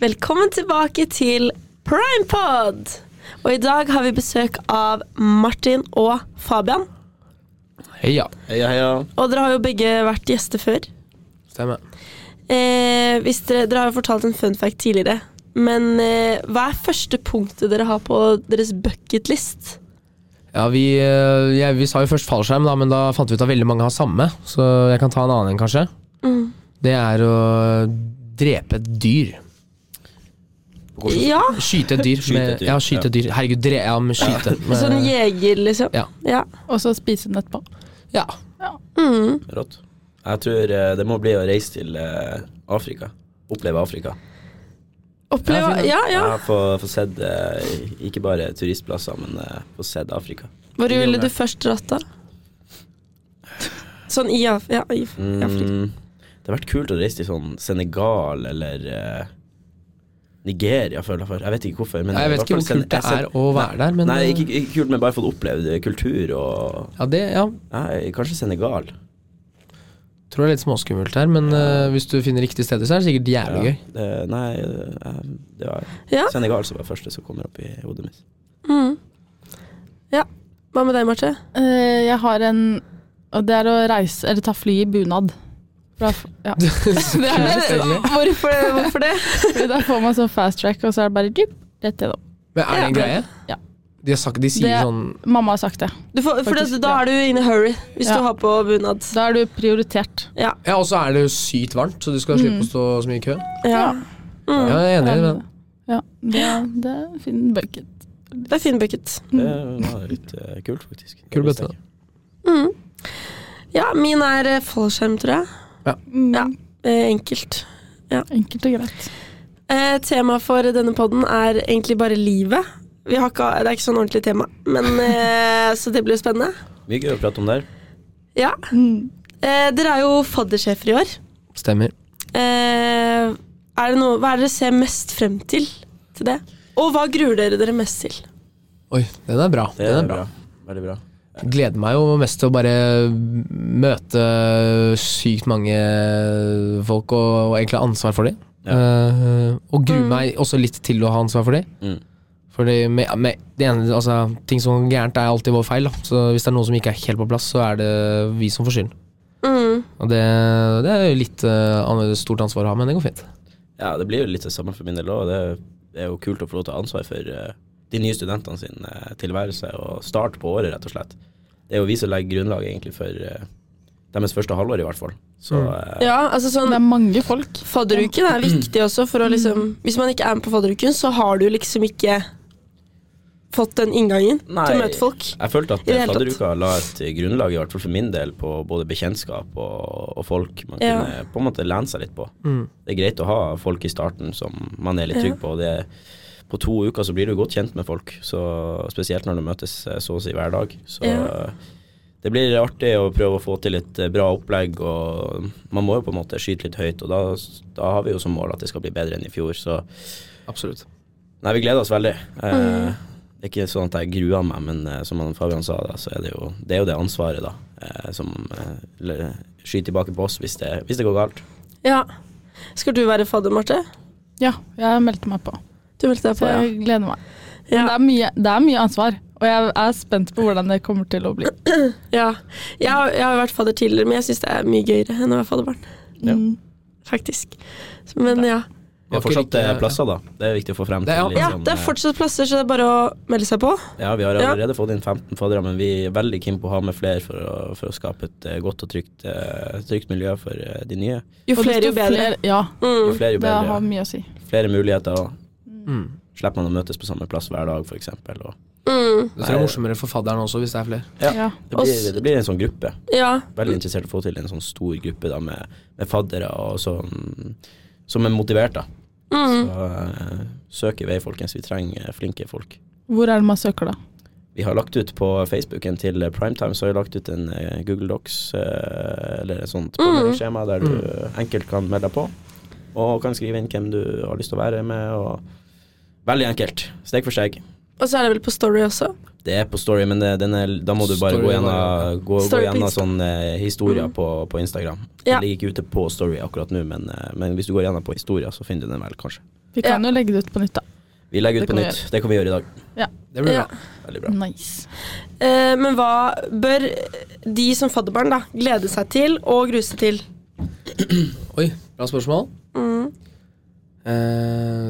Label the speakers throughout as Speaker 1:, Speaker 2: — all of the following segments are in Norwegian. Speaker 1: Velkommen tilbake til Primepod! Og i dag har vi besøk av Martin og Fabian.
Speaker 2: Heia.
Speaker 3: Heia, heia.
Speaker 1: Og dere har jo begge vært gjester før.
Speaker 2: Stemmer.
Speaker 1: Eh, hvis dere, dere har jo fortalt en fun fact tidligere. Men eh, hva er første punktet dere har på deres bucketlist?
Speaker 2: Ja, vi, eh, jeg- vi sa jo først fallskjerm, da, men da fant vi ut at veldig mange har samme. Så jeg kan ta en annen en, kanskje. Det er å drepe et dyr.
Speaker 1: Ja,
Speaker 2: Skyte et dyr.
Speaker 3: Skyte
Speaker 2: med-
Speaker 3: et dyr,
Speaker 2: Ja, skyte
Speaker 3: ja.
Speaker 2: et dyr. Herregud, dre ja, men skyte.
Speaker 1: sånn
Speaker 2: Med,
Speaker 1: jeger, liksom.
Speaker 2: Ja.
Speaker 1: ja.
Speaker 4: Og så spise den etterpå.
Speaker 2: ja.
Speaker 1: Mm.
Speaker 3: Rått. Jeg tror eh, det må bli å reise til eh, Afrika. Oppleve Afrika.
Speaker 1: Oppleve
Speaker 2: fint,
Speaker 1: Ja, ja.
Speaker 3: Ja. Få få sett eh, ikke bare turistplasser, men eh, få sett Afrika.
Speaker 1: Hvor ville du først dratt, da? Sånn i, Af ja, i i Afrika.
Speaker 3: Mm, det har vært kult å reise til sånn Senegal eller eh, Nigeria, føler jeg for. Jeg vet ikke hvorfor. Men
Speaker 2: Nei, Jeg vet
Speaker 3: i hvert
Speaker 2: ikke
Speaker 3: fall
Speaker 2: hvor
Speaker 3: Sen-
Speaker 2: kult det
Speaker 3: Sen-
Speaker 2: er å være der, men eh,
Speaker 3: Nei, ikke, ikke kult, men bare fått opplevd eh, kultur og
Speaker 2: ja, det, ja.
Speaker 3: Nei, kanskje Senegal.
Speaker 2: Tror det er litt småskummelt her, men eh, hvis du finner riktige steder, så er det sikkert jævlig gøy.
Speaker 3: Ja, det- nei, eh, det var
Speaker 1: Ja.
Speaker 3: Senegal som var første som kommer opp i hodet mitt.
Speaker 1: Mm. Ja. Hva med deg, Marte?
Speaker 4: Eh, jeg har en Og det er å reise Eller ta fly i bunad. Fra, ja.
Speaker 2: Så
Speaker 4: Det er-
Speaker 2: kult, egentlig.
Speaker 1: Hvorfor, hvorfor det?
Speaker 4: Fordi Da får man sånn fast track, og så er det bare dyp, rett til dem.
Speaker 2: Men er det en
Speaker 1: Ja.
Speaker 2: greie?
Speaker 4: Ja.
Speaker 2: De, har sagt, de sier
Speaker 4: Det-
Speaker 2: sånn
Speaker 4: Mamma har sagt det.
Speaker 1: Du får, for
Speaker 4: Faktisk,
Speaker 1: det, da
Speaker 4: ja.
Speaker 1: er du in a hurry hvis
Speaker 4: Ja.
Speaker 1: du har på bunad.
Speaker 4: Da er du prioritert.
Speaker 1: Ja.
Speaker 2: Ja, og så er det jo sykt varmt, så du skal slippe å stå så mye i kø.
Speaker 1: Ja.
Speaker 2: Ja,
Speaker 1: Mm.
Speaker 2: jeg er enig i det.
Speaker 4: Ja, det, det er en fin bucket.
Speaker 1: Det er fin bucket.
Speaker 3: Det var litt eh, kult, faktisk.
Speaker 2: Kul bøtte.
Speaker 3: Det
Speaker 1: Mm. Ja, min er eh, fallskjerm, tror jeg.
Speaker 4: Mm,
Speaker 1: Ja. Eh, enkelt.
Speaker 4: Enkelt og greit.
Speaker 1: Eh, Temaet for denne podden er egentlig bare livet. Vi har ikke, det er ikke sånn ordentlig tema, men, eh, så det blir jo spennende.
Speaker 3: Mye gøy å prate om der.
Speaker 1: Ja.
Speaker 4: Mm.
Speaker 1: Eh, dere er jo faddersjefer i år.
Speaker 2: Stemmer.
Speaker 1: Eh, er det noe, hva er det dere ser mest frem til til det? Og hva gruer dere dere mest til?
Speaker 2: Oi, den er bra.
Speaker 3: Det
Speaker 2: den
Speaker 3: er
Speaker 2: er bra.
Speaker 3: bra. Veldig bra.
Speaker 2: Gleder meg jo mest til å bare møte sykt mange folk og, og egentlig ha ansvar for dem. Eh,
Speaker 3: Ja.
Speaker 2: og gruer meg også litt til å ha ansvar for dem.
Speaker 3: Mm.
Speaker 2: Fordi med, med det ene, altså, ting som går gærent, er alltid vår feil. Da. Så hvis det er noe som ikke er helt på plass, så er det vi som får skylden.
Speaker 1: Mm.
Speaker 2: Og det, det er jo litt eh, annerledes stort ansvar å ha, men det går fint.
Speaker 3: Ja, det blir jo litt det samme for min del òg. Det, er- det er jo kult å få lov til å ha ansvar for eh, de nye studentene sin eh, tilværelse og start på året, rett og slett. Det er jo vi som legger grunnlaget egentlig for eh, deres første halvår, i hvert fall. Så
Speaker 2: Mm.
Speaker 3: eh,
Speaker 1: Ja, altså sånn
Speaker 4: Det er mange folk.
Speaker 1: Fadderuken er
Speaker 3: Mm.
Speaker 1: viktig også for å liksom Hvis man ikke er med på fadderuken, så har du liksom ikke fått den inngangen til å
Speaker 3: Nei.
Speaker 1: møte folk.
Speaker 3: jeg følte at
Speaker 1: I det hele tatt.
Speaker 3: fadderuka la et grunnlag, i hvert fall for min del, på både bekjentskap og, og folk man
Speaker 1: Ja.
Speaker 3: kunne på en måte lene seg litt på.
Speaker 2: Mm.
Speaker 3: Det er greit å ha folk i starten som man er litt
Speaker 1: Ja.
Speaker 3: trygg på. og Det, på to uker så blir du godt kjent med folk, så, spesielt når du møtes eh, så å si hver dag. Så
Speaker 1: Ja.
Speaker 3: eh, det blir artig å prøve å få til et eh, bra opplegg, og man må jo på en måte skyte litt høyt. Og da, da har vi jo som mål at det skal bli bedre enn i fjor, så
Speaker 2: Absolutt.
Speaker 3: nei, vi gleder oss veldig.
Speaker 1: Mm.
Speaker 3: Eh, Det er ikke sånn at jeg gruer meg, men eh, som han Fabian sa, da, så er det jo det, er jo det ansvaret da, eh, som eh, le- skyter tilbake på oss hvis det, hvis det går galt.
Speaker 1: Ja. Skal du være fadder, Marte?
Speaker 4: Ja, jeg meldte meg på.
Speaker 1: Du meldte deg
Speaker 4: Så
Speaker 1: på, ja.
Speaker 4: jeg gleder meg. Men Det,
Speaker 1: Ja.
Speaker 4: er mye, det er mye ansvar, og jeg er spent på hvordan det kommer til å bli.
Speaker 1: ja. Jeg, har- jeg har vært fadder tidligere, men jeg syns det er mye gøyere enn å være fadderbarn.
Speaker 3: Ja.
Speaker 4: Mm.
Speaker 1: Faktisk. Men ja.
Speaker 3: Vi har
Speaker 2: Var ikke
Speaker 3: fortsatt eh,
Speaker 2: like-
Speaker 3: plasser, da. Det er viktig å få frem.
Speaker 2: Det er-
Speaker 3: til,
Speaker 1: ja.
Speaker 3: liksom,
Speaker 1: Det er
Speaker 3: eh,
Speaker 1: fortsatt plasser, så det er bare å melde seg på.
Speaker 3: Ja, vi har
Speaker 1: Ja.
Speaker 3: allerede fått inn 15 faddere, men vi er veldig keen på å ha med flere for å, for å skape et eh, godt og trygt, eh, trygt miljø for eh, de nye.
Speaker 1: Jo
Speaker 4: Og
Speaker 1: flere,
Speaker 4: desto
Speaker 1: jo bedre.
Speaker 4: Flere, ja,
Speaker 3: Jo
Speaker 1: Mm.
Speaker 3: flere, jo
Speaker 4: det har
Speaker 3: bedre.
Speaker 4: mye å si.
Speaker 3: Flere muligheter. og
Speaker 2: Mm.
Speaker 3: Slipper man å møtes på samme plass hver dag, f.eks. Det,
Speaker 1: Mm.
Speaker 2: Det tror jeg er morsommere for fadderen også, hvis det er flere.
Speaker 3: Ja.
Speaker 4: Ja.
Speaker 3: blir- det blir en sånn gruppe.
Speaker 1: Ja.
Speaker 3: Veldig interessert i å få til en sånn stor gruppe da, med, med faddere og sånn, som er motivert. da.
Speaker 1: Mm.
Speaker 3: Så eh, søk i vei, folkens. Vi trenger flinke folk.
Speaker 4: Hvor er det man søker, da?
Speaker 3: Vi har lagt ut på Facebooken til Primetime så har vi lagt ut en eh, Google Docs eh, eller et sånt påmeldingsskjema der du
Speaker 2: Mm.
Speaker 3: enkelt kan melde deg på. Og kan skrive inn hvem du har lyst til å være med. Og Veldig enkelt. Steg for steg.
Speaker 1: Og så er det vel på Story også.
Speaker 3: Det er på Story, men det, den er, da må du bare
Speaker 2: Story
Speaker 3: gå
Speaker 2: bare,
Speaker 3: gjennom, gå, gå
Speaker 1: Story på
Speaker 3: gjennom
Speaker 1: Insta.
Speaker 3: sånne eh, historier på, på Instagram.
Speaker 1: Ja.
Speaker 3: Den ligger ikke ute på Story akkurat nå, men, eh, men hvis du går gjennom på historier, så finner du den vel, kanskje.
Speaker 4: Vi kan jo legge det ut på nytt, da.
Speaker 3: Vi legger ut på
Speaker 4: Det kan vi Mm.
Speaker 3: nytt. Det kan vi gjøre i dag.
Speaker 2: Det blir
Speaker 1: Ja.
Speaker 2: bra.
Speaker 3: Veldig bra.
Speaker 4: Nice.
Speaker 1: Eh, men hva bør de som fadderbarn da, glede seg til og grue seg til?
Speaker 2: Oi, bra spørsmål.
Speaker 1: Mm.
Speaker 2: Eh,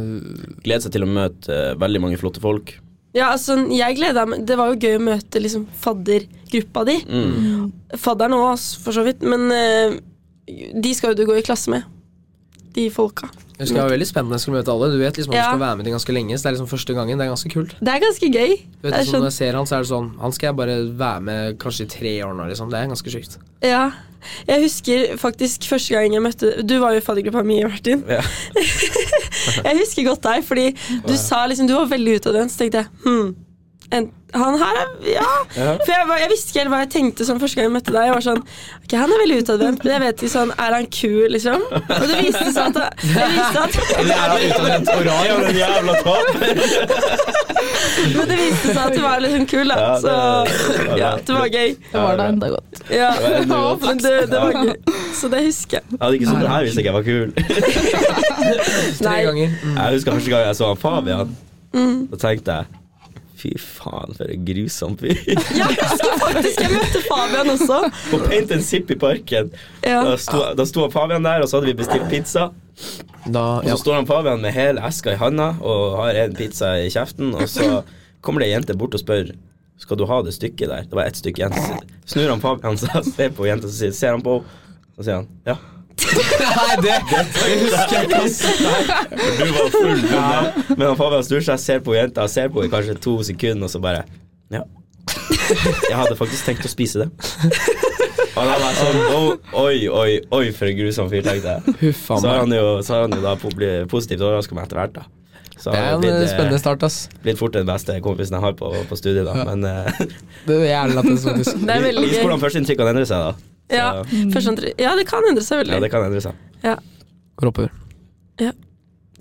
Speaker 3: Gleder seg til å møte eh, veldig mange flotte folk.
Speaker 1: Ja, altså, jeg gleda meg. Det var jo gøy å møte liksom, faddergruppa di.
Speaker 3: Mm.
Speaker 1: Fadderen òg, for så vidt. Men eh, de skal jo du gå i klasse med. De folka.
Speaker 2: det skal være veldig spennende å skulle møte alle. Du vet liksom at
Speaker 1: Ja.
Speaker 2: du skal være med til ganske lenge, så det er liksom første gangen. Det er ganske kult.
Speaker 1: Det er ganske gøy.
Speaker 2: Du vet,
Speaker 1: Jeg
Speaker 2: sånn, når jeg ser han, så er det sånn Han skal jeg bare være med kanskje i tre år nå, liksom. Det er ganske sjukt.
Speaker 1: Ja. Jeg husker faktisk første gang jeg møtte Du var jo i faddergruppa mi, Martin.
Speaker 3: Ja.
Speaker 1: jeg husker godt deg, fordi du sa liksom Du var veldig utadvendt, så tenkte jeg hm, en, han her er Ja!
Speaker 3: Ja.
Speaker 1: For jeg, var- jeg visste ikke helt hva jeg tenkte sånn første gang jeg møtte deg. Jeg var sånn Ok, han er veldig utadvendt, men jeg vet ikke sånn Er han kul, liksom? Og det viste seg at han- det viste at,
Speaker 3: Ja, men jævla taper!
Speaker 1: Men det viste seg at du var liksom kul, da.
Speaker 3: Ja,
Speaker 1: så
Speaker 3: det- det var
Speaker 1: ja,
Speaker 3: bra.
Speaker 1: det var gøy.
Speaker 4: Det var da enda godt.
Speaker 1: Ja.
Speaker 3: Det var enda godt.
Speaker 1: Men det, det var gøy. Så det husker jeg.
Speaker 3: Jeg hadde ikke sånn det her hvis jeg ikke var kul.
Speaker 2: Tre
Speaker 1: Nei.
Speaker 2: ganger. Mm.
Speaker 3: Jeg husker første gang jeg så han Fabian.
Speaker 1: Mm.
Speaker 3: Da tenkte jeg Fy faen, for en grusom fyr.
Speaker 1: Ja, jeg husker faktisk jeg møtte Fabian også.
Speaker 3: På Paint and Sip i parken.
Speaker 1: Ja.
Speaker 3: Da sto, da sto han Fabian der, og så hadde vi bestilt pizza.
Speaker 2: Da,
Speaker 3: Og så
Speaker 2: ja.
Speaker 3: står han Fabian med hele eska i handa og har en pizza i kjeften, og så kommer det ei jente bort og spør Skal du ha det stykket der. Det var ett stykke igjen. Så Snur han Fabian seg, ser på jenta, så sier, ser han på henne, og sier han ja.
Speaker 2: Nei, det, det husker jeg ikke. ass.
Speaker 3: Du var full, men, men han Fabian snur seg, ser på jenta, ser på henne i kanskje to sekunder, og så bare Ja. Jeg hadde faktisk tenkt å spise det. Og da var jeg sånn «Å, Oi, oi, oi, for en grusom fyr, tenkte jeg.
Speaker 2: Huff a
Speaker 3: Så har
Speaker 2: meg.
Speaker 3: han jo, så har han jo da po- bli- positivt overraska meg etter hvert, da. Så
Speaker 2: Det
Speaker 3: han
Speaker 2: er en
Speaker 3: blitt,
Speaker 2: eh,
Speaker 3: eh,
Speaker 2: spennende start, ass.
Speaker 3: blitt fort den beste kompisen jeg har på, på studiet, da. Men eh,
Speaker 2: Det er jævlig lættis, faktisk.
Speaker 1: Det er veldig
Speaker 3: vi- vi-
Speaker 1: gøy.
Speaker 3: hvordan førsteinntrykk kan endre seg, da.
Speaker 1: Ja, første, andre- ja, det kan endre seg
Speaker 3: Ja,
Speaker 1: veldig.
Speaker 3: det kan endre seg.
Speaker 2: Går oppover.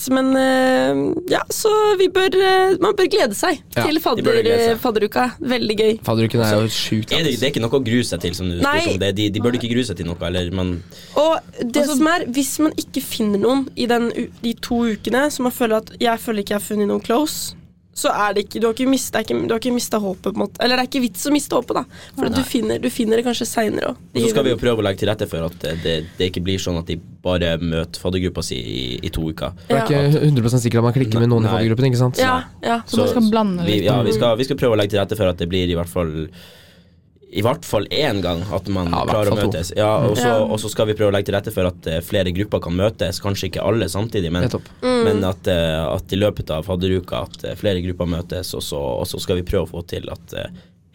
Speaker 1: Men eh, ja, så vi bør eh, Man bør glede seg
Speaker 2: Ja,
Speaker 1: til
Speaker 3: de bør
Speaker 1: fadder, eh,
Speaker 3: glede seg.
Speaker 1: fadderuka. Veldig gøy.
Speaker 2: Fadderuken er jo sjukt.
Speaker 3: Er det, det er ikke noe å grue seg til, som du
Speaker 1: Nei.
Speaker 3: spurte om. Det, de, de burde ikke grue seg til noe, eller men
Speaker 1: Og det
Speaker 4: Altså-
Speaker 1: som er, hvis man ikke finner noen i den, u- de to ukene, så man føler at jeg føler ikke jeg har funnet noen close, så er det ikke Du har ikke mista, ikke, du har ikke mistet håpet, på en måte. Eller det er ikke vits å miste håpet, da. For du finner, du finner det kanskje seinere òg.
Speaker 3: Og så skal vi jo prøve å legge til rette for at eh, det, det ikke blir sånn at de bare møter faddergruppa si i, i to uker.
Speaker 2: Du er ikke 100 sikker at man klikker med noen i
Speaker 3: Nei.
Speaker 2: faddergruppen, ikke sant?
Speaker 1: Ja, ja.
Speaker 4: Så man skal blande
Speaker 3: vi,
Speaker 4: litt. Mm.
Speaker 3: ja, vi, skal, vi skal prøve å legge til rette for at det blir i hvert fall i hvert fall én gang at man
Speaker 2: Ja, i hvert
Speaker 3: klarer å
Speaker 2: fall to.
Speaker 3: møtes. Ja, og, så,
Speaker 1: Ja.
Speaker 3: og så skal vi prøve å legge til rette for at eh, flere grupper kan møtes, kanskje ikke alle samtidig, men,
Speaker 2: Nettopp.
Speaker 4: Mm.
Speaker 3: men at, eh, at i løpet av fadderuka at eh, flere grupper møtes, og så, og så skal vi prøve å få til at eh,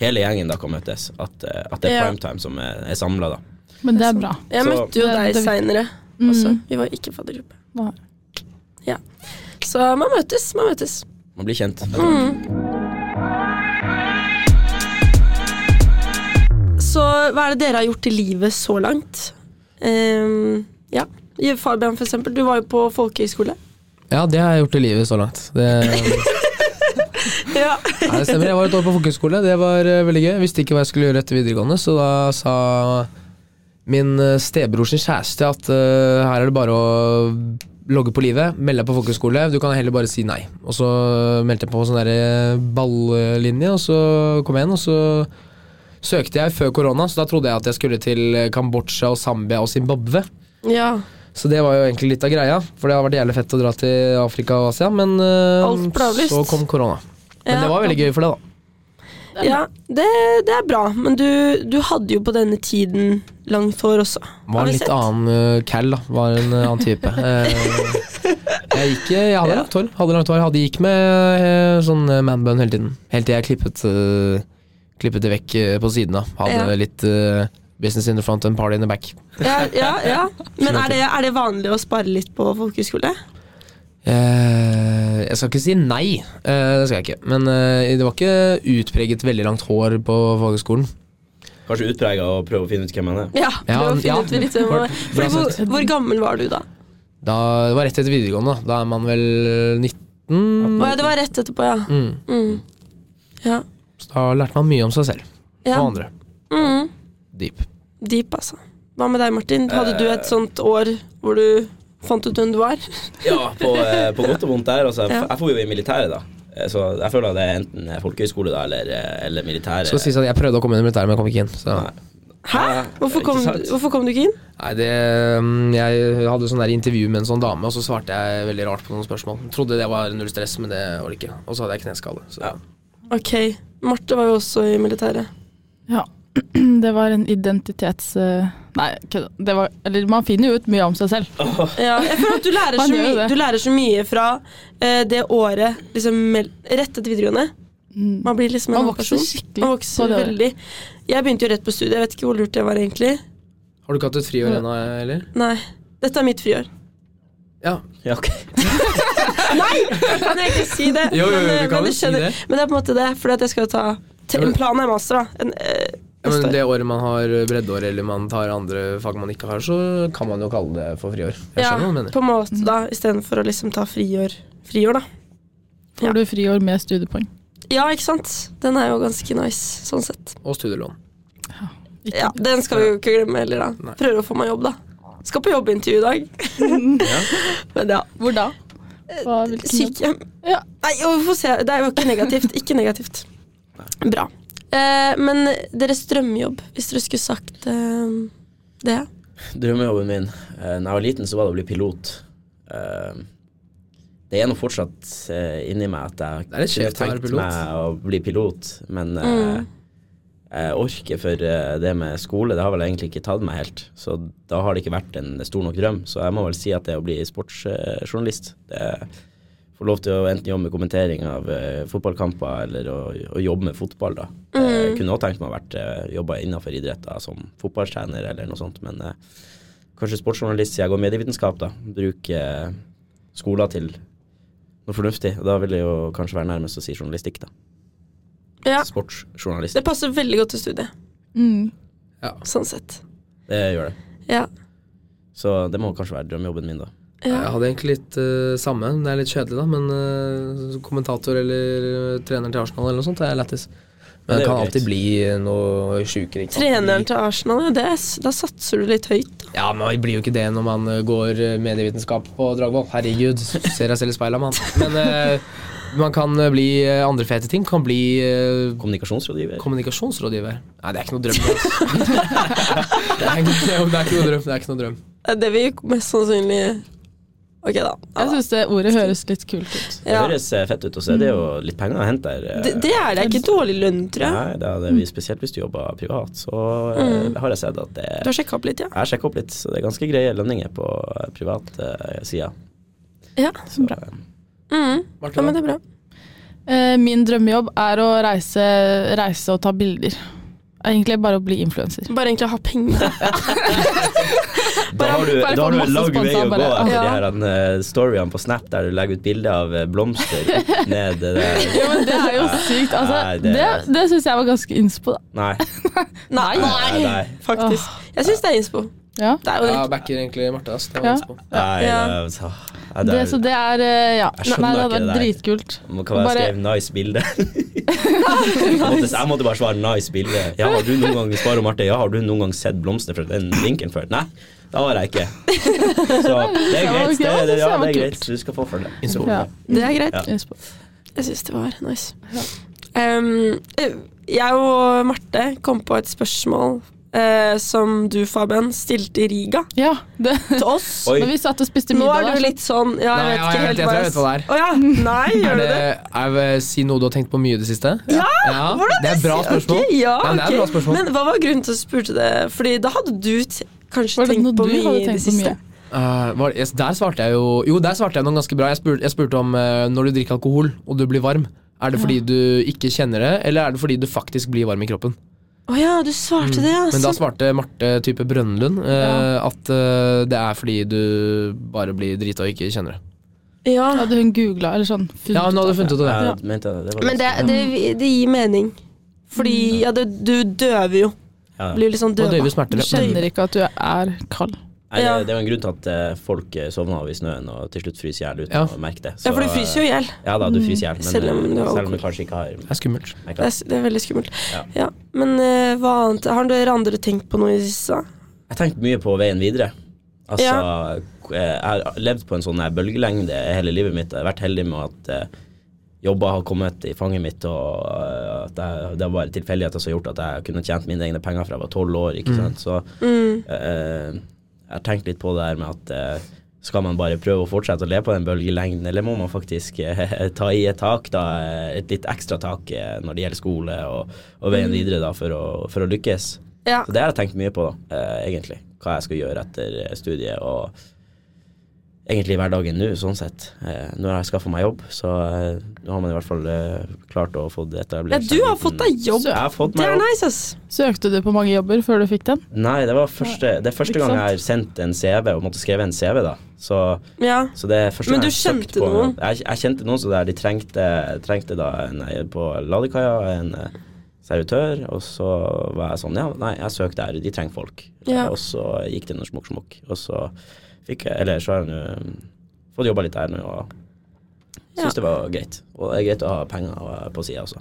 Speaker 3: hele gjengen da kan møtes. At, eh, at det er
Speaker 1: Ja.
Speaker 3: primetime som er, er samla, da.
Speaker 4: Men det er bra.
Speaker 1: Jeg
Speaker 3: Så-
Speaker 1: møtte jo
Speaker 4: Det er
Speaker 1: deg
Speaker 4: det Mm. vi-
Speaker 1: seinere også. Vi var ikke i faddergruppe.
Speaker 4: Nei.
Speaker 1: Ja. Så man møtes, man møtes.
Speaker 3: Man blir kjent.
Speaker 4: Mm.
Speaker 1: Så hva er det dere har gjort i livet så langt? Ehm, ja. Fabian, for eksempel. Du var jo på folkehøyskole.
Speaker 2: Ja, det har jeg gjort i livet så langt. Det, nei,
Speaker 1: Ja.
Speaker 2: det stemmer. Jeg var et år på folkehøyskole. Det var eh, veldig gøy. Jeg visste ikke hva jeg skulle gjøre etter videregående, så da sa min eh, stebror sin kjæreste at eh, her er det bare å logge på livet, melde deg på folkehøyskole. Du kan heller bare si nei. Og så meldte jeg på sånn derre ballinje, og så kom jeg inn, og så søkte jeg før korona, så da trodde jeg at jeg skulle til Kambodsja og Zambia og Zimbabwe.
Speaker 1: ja.
Speaker 2: Så det var jo egentlig litt av greia, for det har vært jævlig fett å dra til Afrika og Asia, men øh,
Speaker 1: Alt ble avlyst.
Speaker 2: så kom korona. Men
Speaker 1: Ja.
Speaker 2: det var veldig gøy for det, da.
Speaker 1: ja det, det er bra, men du, du hadde jo på denne tiden langt hår også. Har
Speaker 2: Var
Speaker 1: vi
Speaker 2: en litt
Speaker 1: sett?
Speaker 2: annen øh, cal, da. Var en øh, annen type. Eh, jeg gikk eh, Jeg hadde
Speaker 1: Ja.
Speaker 2: langt hår. Hadde langt hår. Hadde gikk med eh, sånn eh, man bun hele tiden. Helt til jeg klippet, eh, klippet det vekk eh, på siden av. Hadde
Speaker 1: Ja.
Speaker 2: litt eh, business in the front and party in the back.
Speaker 1: Ja, ja, ja. Men er det, er det vanlig å spare litt på folkehøyskole?
Speaker 2: Eh, jeg skal ikke si nei, eh, det skal jeg ikke. Men eh, det var ikke utpreget veldig langt hår på fagskolen.
Speaker 3: Kanskje utprega å prøve å finne ut hvem han er.
Speaker 1: Ja.
Speaker 2: Ja,
Speaker 1: prøv å finne
Speaker 2: ja.
Speaker 1: ut litt om-
Speaker 2: Bra
Speaker 1: liksom Fordi hvor,
Speaker 2: sett.
Speaker 1: hvor gammel var du da?
Speaker 2: Da, det var rett etter videregående. Da Da er man vel 19.
Speaker 1: Å, ja, det var rett etterpå, ja.
Speaker 2: Mm.
Speaker 1: Mm. Ja.
Speaker 2: Så da lærte man mye om seg selv
Speaker 1: ja.
Speaker 2: og andre.
Speaker 1: Mm.
Speaker 2: Deep. Eh.
Speaker 1: Deep, altså. Hva med deg, Martin? Hadde du et sånt år hvor du Fant ut hvem du var?
Speaker 3: Ja, på, eh, på godt og vondt der. Altså,
Speaker 1: Ja.
Speaker 3: jeg, jeg får jo i militæret, da. Eh, Så jeg føler at det er enten folkehøyskole da, eller, eh, eller militæret.
Speaker 2: Skal sies at jeg prøvde å komme inn i militæret, men jeg kom ikke inn. Så.
Speaker 3: Nei.
Speaker 1: Hæ?
Speaker 3: Ja,
Speaker 1: Hvorfor
Speaker 3: ikke
Speaker 1: kom,
Speaker 3: sant?
Speaker 1: du- hvorfor kom du ikke inn?
Speaker 2: Nei, det, mm, jeg hadde sånn der intervju med en sånn dame, og så svarte jeg veldig rart på noen spørsmål. Trodde det var null stress, men det var det ikke. Og så hadde jeg kneskade. Så.
Speaker 3: Ja.
Speaker 1: Ok, Marte var jo også i militæret.
Speaker 4: Ja. Det var en identitets... eh, Nei, kødda. Det var, eller man finner jo ut mye om seg selv.
Speaker 1: Ja, jeg føler at du lærer,
Speaker 4: Man
Speaker 1: så,
Speaker 4: gjør jo
Speaker 1: mye,
Speaker 4: det.
Speaker 1: du lærer så mye fra eh, det året liksom, mel- rett etter videregående.
Speaker 4: Mm.
Speaker 1: Man blir liksom en
Speaker 4: Man
Speaker 1: annen
Speaker 4: vokser
Speaker 1: person.
Speaker 4: skikkelig.
Speaker 1: Man
Speaker 4: på
Speaker 1: vokser
Speaker 4: det året.
Speaker 1: veldig. Jeg begynte jo rett på studiet, jeg vet ikke hvor lurt det var egentlig.
Speaker 2: Har du ikke hatt et friår ennå, eller?
Speaker 1: Nei, dette er mitt friår.
Speaker 2: Ja.
Speaker 3: Ja, ok.
Speaker 1: Kan jeg ikke si det?
Speaker 2: Jo, jo, jo,
Speaker 1: men, eh,
Speaker 2: du kan
Speaker 1: men
Speaker 2: jo
Speaker 1: det
Speaker 2: si
Speaker 1: skjønner-
Speaker 2: det.
Speaker 1: Men det er på en måte det, fordi at jeg skal ta
Speaker 2: Ja,
Speaker 1: te-
Speaker 2: men-
Speaker 1: En plan er master, da. En, eh,
Speaker 2: Ja, men
Speaker 1: neste år.
Speaker 2: det året man har breddeår, eller man tar andre fag man ikke har, så kan man jo kalle det for friår. Jeg
Speaker 1: ja,
Speaker 2: skjønner hva du mener.
Speaker 1: på en måte, da. Istedenfor å liksom ta friår. Friår, da. Ja.
Speaker 4: Får du friår med studiepoeng.
Speaker 1: Ja, ikke sant? Den er jo ganske nice, sånn sett.
Speaker 2: Og studielån.
Speaker 4: Ikke-
Speaker 1: Ja, Den skal vi jo ikke glemme heller, da.
Speaker 2: Nei.
Speaker 1: Prøver å få meg jobb, da. Skal på jobbintervju i dag. Men ja.
Speaker 4: Hvor da? Eh, Hva, hvilken jobb?
Speaker 1: Sykehjem.
Speaker 4: Ja.
Speaker 1: Nei, jo, vi får se. Det er jo ikke negativt. Ikke negativt. Bra. Eh, men deres drømmejobb, hvis dere skulle sagt eh, det?
Speaker 3: Drømmejobben min eh, Når jeg var liten, så var det å bli pilot. Eh, det er nå fortsatt eh, inni meg at jeg
Speaker 2: Det er litt
Speaker 3: kunne
Speaker 2: kjekt å være
Speaker 3: tenkt
Speaker 2: pilot.
Speaker 3: meg å bli pilot, men eh,
Speaker 1: Mm.
Speaker 3: jeg orker for eh, det med skole. Det har vel egentlig ikke tatt meg helt, så da har det ikke vært en stor nok drøm. Så jeg må vel si at det å bli sportsjournalist det Får lov til å enten jobbe med kommentering av eh, fotballkamper eller å, å jobbe med fotball, da. Eh,
Speaker 1: Mm.
Speaker 3: kunne også tenkt meg å vært eh, jobba innenfor idretter som fotballtrener eller noe sånt, men eh, kanskje sportsjournalist siden jeg går medievitenskap, da. Bruke eh, skoler til noe fornuftig. Da vil jeg jo kanskje være nærmest å si journalistikk, da.
Speaker 1: Ja.
Speaker 3: Sportsjournalist.
Speaker 1: Det passer veldig godt til studiet,
Speaker 4: Mm.
Speaker 1: sånn sett.
Speaker 3: Det gjør det.
Speaker 1: Ja.
Speaker 3: Så det må kanskje være drømmejobben min, da.
Speaker 1: ja.
Speaker 2: Jeg hadde egentlig litt eh, samme, det er litt kjedelig da, men eh, kommentator eller eh, trener til Arsenal eller noe sånt, det er lættis. Men
Speaker 3: det
Speaker 2: det
Speaker 3: er jo
Speaker 2: kan
Speaker 3: greit.
Speaker 2: alltid bli eh, noe sjukere. ikke sant?
Speaker 1: Treneren til Arsenal, ja, det er, s- da satser du litt høyt. da.
Speaker 2: Ja, men det blir jo ikke det når man eh, går eh, medievitenskap på Dragvoll. Herregud, ser jeg selv i speilet, mann. Men eh, man kan eh, bli eh, andre fete ting. Kan bli eh,
Speaker 3: Kommunikasjonsrådgiver.
Speaker 2: kommunikasjonsrådgiver. Nei, det er ikke noe drøm. Altså. det, er ikke, det er ikke noe drøm. Det er ikke noe drøm.
Speaker 1: Det er Det vi mest sannsynlig Ok, da. Ja,
Speaker 4: Jeg
Speaker 1: da.
Speaker 4: syns det ordet høres litt kult ut.
Speaker 3: Det
Speaker 1: Ja. Mm.
Speaker 3: høres eh, fett ut, og så er det jo litt penger å hente der. eh.
Speaker 1: Det, det er det er ikke dårlig lønn, tror jeg.
Speaker 3: Nei, det er det vi, spesielt hvis du jobber privat, så eh,
Speaker 1: Mm.
Speaker 3: har jeg sett at det
Speaker 1: Du har sjekka opp litt, ja?
Speaker 3: Jeg sjekker opp litt, så det er ganske greie lønninger på eh, privat eh, sida.
Speaker 1: Ja,
Speaker 3: Så,
Speaker 4: bra.
Speaker 3: eh,
Speaker 1: mm. ja
Speaker 2: Martha,
Speaker 1: men det er bra.
Speaker 4: Eh, Min drømmejobb er å reise, reise og ta bilder. Egentlig bare å bli influenser.
Speaker 1: Bare egentlig ha penger.
Speaker 3: Da har du,
Speaker 4: bare
Speaker 3: da
Speaker 4: få
Speaker 3: har du
Speaker 4: masse
Speaker 3: en lang vei å
Speaker 4: sponsorer,
Speaker 3: gå
Speaker 4: bare.
Speaker 3: etter
Speaker 1: Ja.
Speaker 3: de her eh, storyene på Snap der du legger ut bilde av eh, blomster opp ned det der.
Speaker 4: Ja, men det er jo sykt. Altså,
Speaker 3: Nei, det-
Speaker 4: det det syns jeg var ganske innspo, da.
Speaker 3: Nei,
Speaker 1: Nei,
Speaker 3: nei, nei.
Speaker 1: faktisk. Jeg syns det er innspo.
Speaker 4: Ja.
Speaker 1: Det er jo
Speaker 2: Ja,
Speaker 1: litt
Speaker 2: backer egentlig Martha. ass. Det var
Speaker 4: Ja.
Speaker 2: jeg på.
Speaker 3: nei
Speaker 1: Ja.
Speaker 3: det er- så- ja, det
Speaker 4: Det,
Speaker 3: er-
Speaker 4: så det er eh, Ja.
Speaker 3: Jeg skjønner
Speaker 4: Nei, det hadde
Speaker 3: ikke
Speaker 4: vært
Speaker 3: det
Speaker 4: dritkult.
Speaker 3: Hva var det jeg skrev? Nice bilde. jeg, måtte, jeg måtte bare svare nice bilde. Ja, har du noen gang Spar og Marte, ja, har du noen gang sett blomster fra den vinkelen før? Nei, det har jeg ikke. Så det er greit. Det, det, ja, det er greit. Du skal få for det. Innspo.
Speaker 4: Ja.
Speaker 1: Det er greit.
Speaker 3: Ja.
Speaker 4: Innspo.
Speaker 1: Jeg syns det var nice. Um, eh, jeg og Marte kom på et spørsmål eh, som du, Fabian, stilte i Riga
Speaker 4: Ja, det.
Speaker 1: til oss.
Speaker 3: Oi.
Speaker 4: Når vi satt og spiste
Speaker 1: Nå er
Speaker 4: middag altså?
Speaker 1: du
Speaker 4: der,
Speaker 1: litt sånn Ja, jeg vet
Speaker 2: Nei, ja, jeg
Speaker 1: ikke
Speaker 2: vet-
Speaker 1: helt
Speaker 2: jeg tror jeg vet hva det
Speaker 1: Å ja. Nei,
Speaker 2: Er
Speaker 1: gjør du
Speaker 2: det,
Speaker 1: det?
Speaker 2: er det- si noe du har tenkt på mye i det siste? Ja!
Speaker 1: Hvordan
Speaker 2: det er bra
Speaker 1: Ok,
Speaker 2: spørsmål.
Speaker 1: ja,
Speaker 2: Nei, det
Speaker 1: ok.
Speaker 2: er bra spørsmål.
Speaker 1: Men hva var grunnen til at du spurte det? Fordi da hadde du t kanskje
Speaker 4: var det
Speaker 1: tenkt
Speaker 4: noe
Speaker 1: på
Speaker 4: du
Speaker 1: mye i
Speaker 4: hadde
Speaker 1: det
Speaker 4: tenkt på
Speaker 1: siste.
Speaker 4: mye?
Speaker 2: Eh, var, yes, der svarte jeg jo Jo, der svarte jeg noe ganske bra. Jeg spurte, jeg spurte om eh, når du drikker alkohol og du blir varm. Er det fordi du ikke kjenner det, eller er det fordi du faktisk blir varm i kroppen?
Speaker 1: Å ja, du
Speaker 3: Mm.
Speaker 1: svarte det, ja.
Speaker 2: Men da
Speaker 1: Så-
Speaker 2: svarte Marte type Brønnlund eh,
Speaker 4: Ja.
Speaker 2: at eh, det er fordi du bare blir drita og ikke kjenner det.
Speaker 1: ja.
Speaker 4: Hadde hun googla eller sånn? funnet
Speaker 2: Ja, hun hadde
Speaker 4: ut av det?
Speaker 2: funnet ut av det.
Speaker 3: Jeg mente det, det var
Speaker 1: Men det, det, det gir mening. Fordi ja, det, du døver jo.
Speaker 3: Ja.
Speaker 1: Blir jo litt sånn
Speaker 2: Og
Speaker 1: døva.
Speaker 2: døyve smerter.
Speaker 4: Du
Speaker 2: ja.
Speaker 4: kjenner ikke at du er kald.
Speaker 3: Nei,
Speaker 1: Ja.
Speaker 3: det, det er jo en grunn til at eh, folk eh, sovner av i snøen og til slutt fryser i hjel uten
Speaker 2: Ja.
Speaker 3: å merke det.
Speaker 1: Ja, for du fryser jo i hjel.
Speaker 3: Ja da, du fryser i hjel, men
Speaker 1: Selv om
Speaker 3: eh,
Speaker 1: du har
Speaker 3: selv om
Speaker 1: alkohol.
Speaker 3: du kanskje ikke har
Speaker 2: Det er skummelt.
Speaker 3: merket
Speaker 1: Det,
Speaker 3: det.
Speaker 1: er s- det er veldig skummelt. Ja.
Speaker 3: Ja.
Speaker 1: Men eh, hva annet? Har dere andre tenkt på noe i det siste?
Speaker 3: Jeg har tenkt mye på veien videre. Altså, jeg har levd på en sånn her bølgelengde hele livet mitt. Jeg har vært heldig med at eh, jobber har kommet i fanget mitt, og eh, at jeg, det var bare tilfeldigheter som har gjort at jeg kunne tjent mine egne penger fra jeg var tolv år. Ikke sant? Så
Speaker 1: Mm.
Speaker 3: eh, jeg har tenkt litt på det her med at eh, skal man bare prøve å fortsette å leve på den bølgelengden, eller må man faktisk eh, ta i et tak, da, eh, et litt ekstra tak eh, når det gjelder skole og, og veien videre da, for, å, for å lykkes?
Speaker 1: Mm. Ja.
Speaker 3: Så det har jeg tenkt mye på, da, eh, egentlig. Hva jeg skal gjøre etter eh, studiet, og egentlig hverdagen nå, sånn sett. Eh, nå har jeg skaffa meg jobb, så eh, nå har man i hvert fall eh, klart å få det
Speaker 1: ja,
Speaker 3: etablert.
Speaker 1: du har fått deg jobb.
Speaker 3: Så jeg har fått
Speaker 1: Det
Speaker 3: meg
Speaker 1: er
Speaker 3: jobb.
Speaker 1: nice, ass.
Speaker 4: Søkte du på mange jobber før du fikk den?
Speaker 3: Nei, det var første, det er første
Speaker 4: Ikke
Speaker 3: gang
Speaker 4: sant?
Speaker 3: jeg har sendt en CV, og måtte skrive en CV, da. Så,
Speaker 1: Ja.
Speaker 3: så det er første
Speaker 1: Men du
Speaker 3: gang jeg har søkt
Speaker 1: kjente
Speaker 3: på
Speaker 1: noen?
Speaker 3: Jeg, jeg kjente noen, så der de trengte, trengte da en eh, på Ladekaia, en eh, servitør, og så var jeg sånn Ja, nei, jeg søkte her, de trenger folk.
Speaker 1: Ja.
Speaker 3: Eh, Og så gikk det noe smokk-smokk, og så fikk jeg Eller så har jeg nå mm, fått jobba litt der nå, og
Speaker 1: Ja.
Speaker 3: syns det var greit. Og det er greit å ha penger eh, på sida også.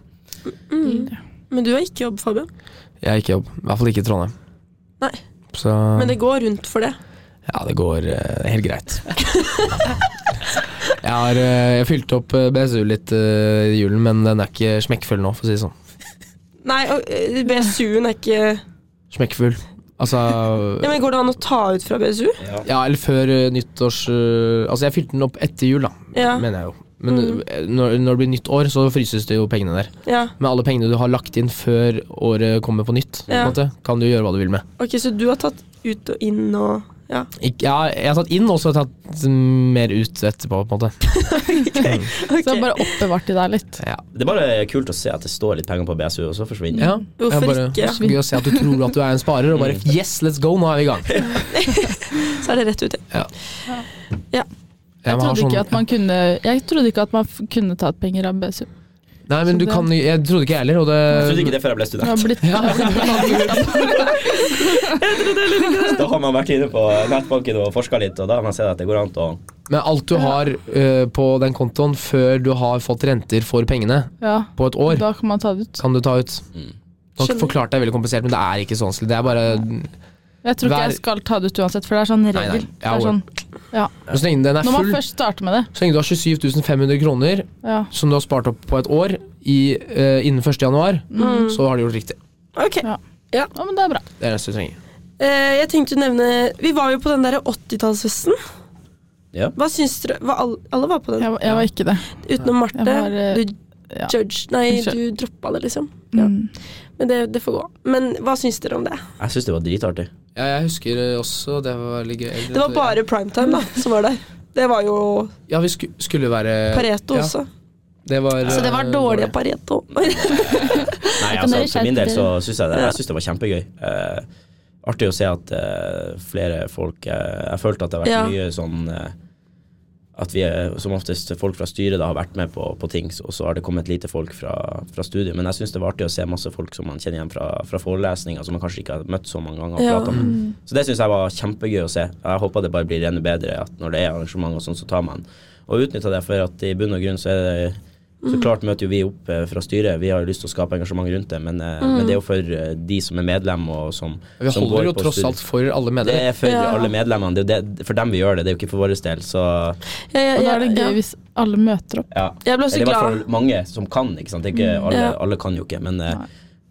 Speaker 1: Mm. Men du har ikke jobb, Fabian.
Speaker 2: Jeg har ikke jobb. I hvert fall ikke i Trondheim.
Speaker 1: Nei.
Speaker 2: Så
Speaker 1: Men det går rundt for det.
Speaker 2: Ja, det går eh, helt greit. jeg har eh, jeg fylte opp eh, BSU litt eh, i julen, men den er ikke smekkfull nå, for å si det sånn.
Speaker 1: Nei, og, eh, BSU-en er ikke ja,
Speaker 2: Smekkfull. Altså
Speaker 1: men Går det an å ta ut fra BSU?
Speaker 2: Ja, eller før eh, nyttårs... eh, altså, jeg fylte den opp etter jul, da,
Speaker 1: Ja. Mm.
Speaker 2: mener jeg jo. Men eh, når, når det blir nytt år, så fryses det jo pengene der.
Speaker 1: ja.
Speaker 2: Men alle pengene du har lagt inn før året kommer på nytt, på
Speaker 1: Ja.
Speaker 2: en måte, kan du gjøre hva du vil med.
Speaker 1: Ok, Så du har tatt ut og inn og Ja.
Speaker 2: Ikke, ja, jeg har tatt inn, og så har jeg tatt mer ut etterpå, på en måte.
Speaker 4: Så jeg har bare oppbevart de der litt.
Speaker 2: Ja.
Speaker 3: Det er bare kult å se at det står litt penger på BSU, og så forsvinner det.
Speaker 2: Ja,
Speaker 1: Hvorfor
Speaker 2: jeg bare,
Speaker 1: ikke?
Speaker 2: Så gøy å se at du tror at du er en sparer, og bare yes, let's go, nå er vi i gang.
Speaker 1: Så er det rett ut.
Speaker 2: Ja.
Speaker 1: Ja.
Speaker 2: Ja,
Speaker 4: Jeg
Speaker 2: man har
Speaker 4: trodde,
Speaker 2: sånn-
Speaker 4: ikke at man kunne, jeg trodde ikke at man f- kunne ta ut penger av BSU.
Speaker 2: Nei, men du kan Jeg trodde ikke jeg heller, og det
Speaker 3: Jeg trodde ikke det før jeg ble
Speaker 4: Det har
Speaker 3: student.
Speaker 4: blitt
Speaker 2: Ja.
Speaker 3: Da har man vært inne på nettbanken og forska litt, og da har man sett at det går an å
Speaker 2: Men alt du har eh, på den kontoen før du har fått renter for pengene
Speaker 4: Ja,
Speaker 2: på et år,
Speaker 4: da kan man ta det ut.
Speaker 2: kan du ta ut.
Speaker 3: Mm.
Speaker 2: Nå
Speaker 1: Skjønner.
Speaker 2: forklarte jeg veldig komplisert, men det er ikke så vanskelig. Det er bare
Speaker 4: Jeg tror ikke
Speaker 2: Hver-
Speaker 4: jeg skal ta det ut uansett, for det er sånn
Speaker 2: nei.
Speaker 4: regel. Det
Speaker 2: Ja,
Speaker 4: er sånn,
Speaker 2: Så lenge den er
Speaker 4: når man
Speaker 2: full,
Speaker 4: først starter med det.
Speaker 2: så lenge du har 27 500 kroner
Speaker 4: Ja.
Speaker 2: som du har spart opp på et år i, eh, innen 1. januar,
Speaker 4: Mm.
Speaker 2: så har du gjort riktig.
Speaker 1: Ok.
Speaker 4: Ja. Å, men det er bra.
Speaker 2: Det er det eneste du trenger.
Speaker 1: Eh, jeg tenkte å nevne Vi var jo på den der 80-tallsfesten.
Speaker 3: Ja.
Speaker 1: Hva syns dere var alle, alle var på den,
Speaker 4: Jeg, jeg var ikke det.
Speaker 1: utenom Marte.
Speaker 4: Jeg var, eh,
Speaker 1: du
Speaker 4: ja.
Speaker 1: judge Nei,
Speaker 4: Unnskyld.
Speaker 1: du droppa det, liksom. Ja.
Speaker 4: Mm.
Speaker 1: Men det, det får gå. Men hva syns dere om det?
Speaker 3: Jeg syns det var dritartig.
Speaker 2: Ja, jeg husker eh, også det var litt gøy.
Speaker 1: Det var bare primetime da som var der. Det var jo
Speaker 2: Ja, vi sku, skulle være
Speaker 1: Pareto
Speaker 2: ja,
Speaker 1: også.
Speaker 2: Det var,
Speaker 1: Så det var
Speaker 2: eh,
Speaker 1: dårlig Pareto.
Speaker 3: Nei,
Speaker 4: kan
Speaker 3: altså,
Speaker 4: dere
Speaker 3: for min del
Speaker 4: skjerpe
Speaker 3: så syns jeg det,
Speaker 1: Ja.
Speaker 3: jeg synes det var kjempegøy. Eh, artig å se at eh, flere folk eh, Jeg følte at det har vært
Speaker 1: Ja.
Speaker 3: mye sånn eh, At vi er, som oftest folk fra styret da har vært med på, på ting, og så har det kommet lite folk fra, fra studio. Men jeg syns det var artig å se masse folk som man kjenner igjen fra, fra forelesninger, som man kanskje ikke har møtt så mange ganger. og
Speaker 1: Ja.
Speaker 3: pratet med. Så det syns jeg var kjempegøy å se. Jeg håper det bare blir enda bedre at når det er arrangement og sånn, så tar man og utnytter det. For at i bunn og grunn så er det Så klart møter jo vi opp eh, fra styret, vi har jo lyst til å skape engasjement rundt det, men, eh, men det er jo for eh, de som er medlem og som
Speaker 2: Vi
Speaker 3: som
Speaker 2: holder
Speaker 3: går
Speaker 2: jo
Speaker 3: på
Speaker 2: tross
Speaker 3: studiet.
Speaker 2: alt for alle
Speaker 3: Det
Speaker 2: medlemmer.
Speaker 3: er for
Speaker 1: Ja.
Speaker 3: alle medlemmene, det er jo det, for dem vi gjør det, det er jo ikke for vår del, så
Speaker 1: Jeg, jeg,
Speaker 4: Og da er det gøy
Speaker 1: jeg,
Speaker 4: hvis alle møter opp.
Speaker 3: ja.
Speaker 1: jeg ble
Speaker 3: Eller
Speaker 1: også
Speaker 3: i hvert
Speaker 1: glad.
Speaker 3: fall mange som kan, ikke sant. Det er ikke alle,
Speaker 1: Ja.
Speaker 3: alle kan jo ikke, men, eh,
Speaker 4: Nei.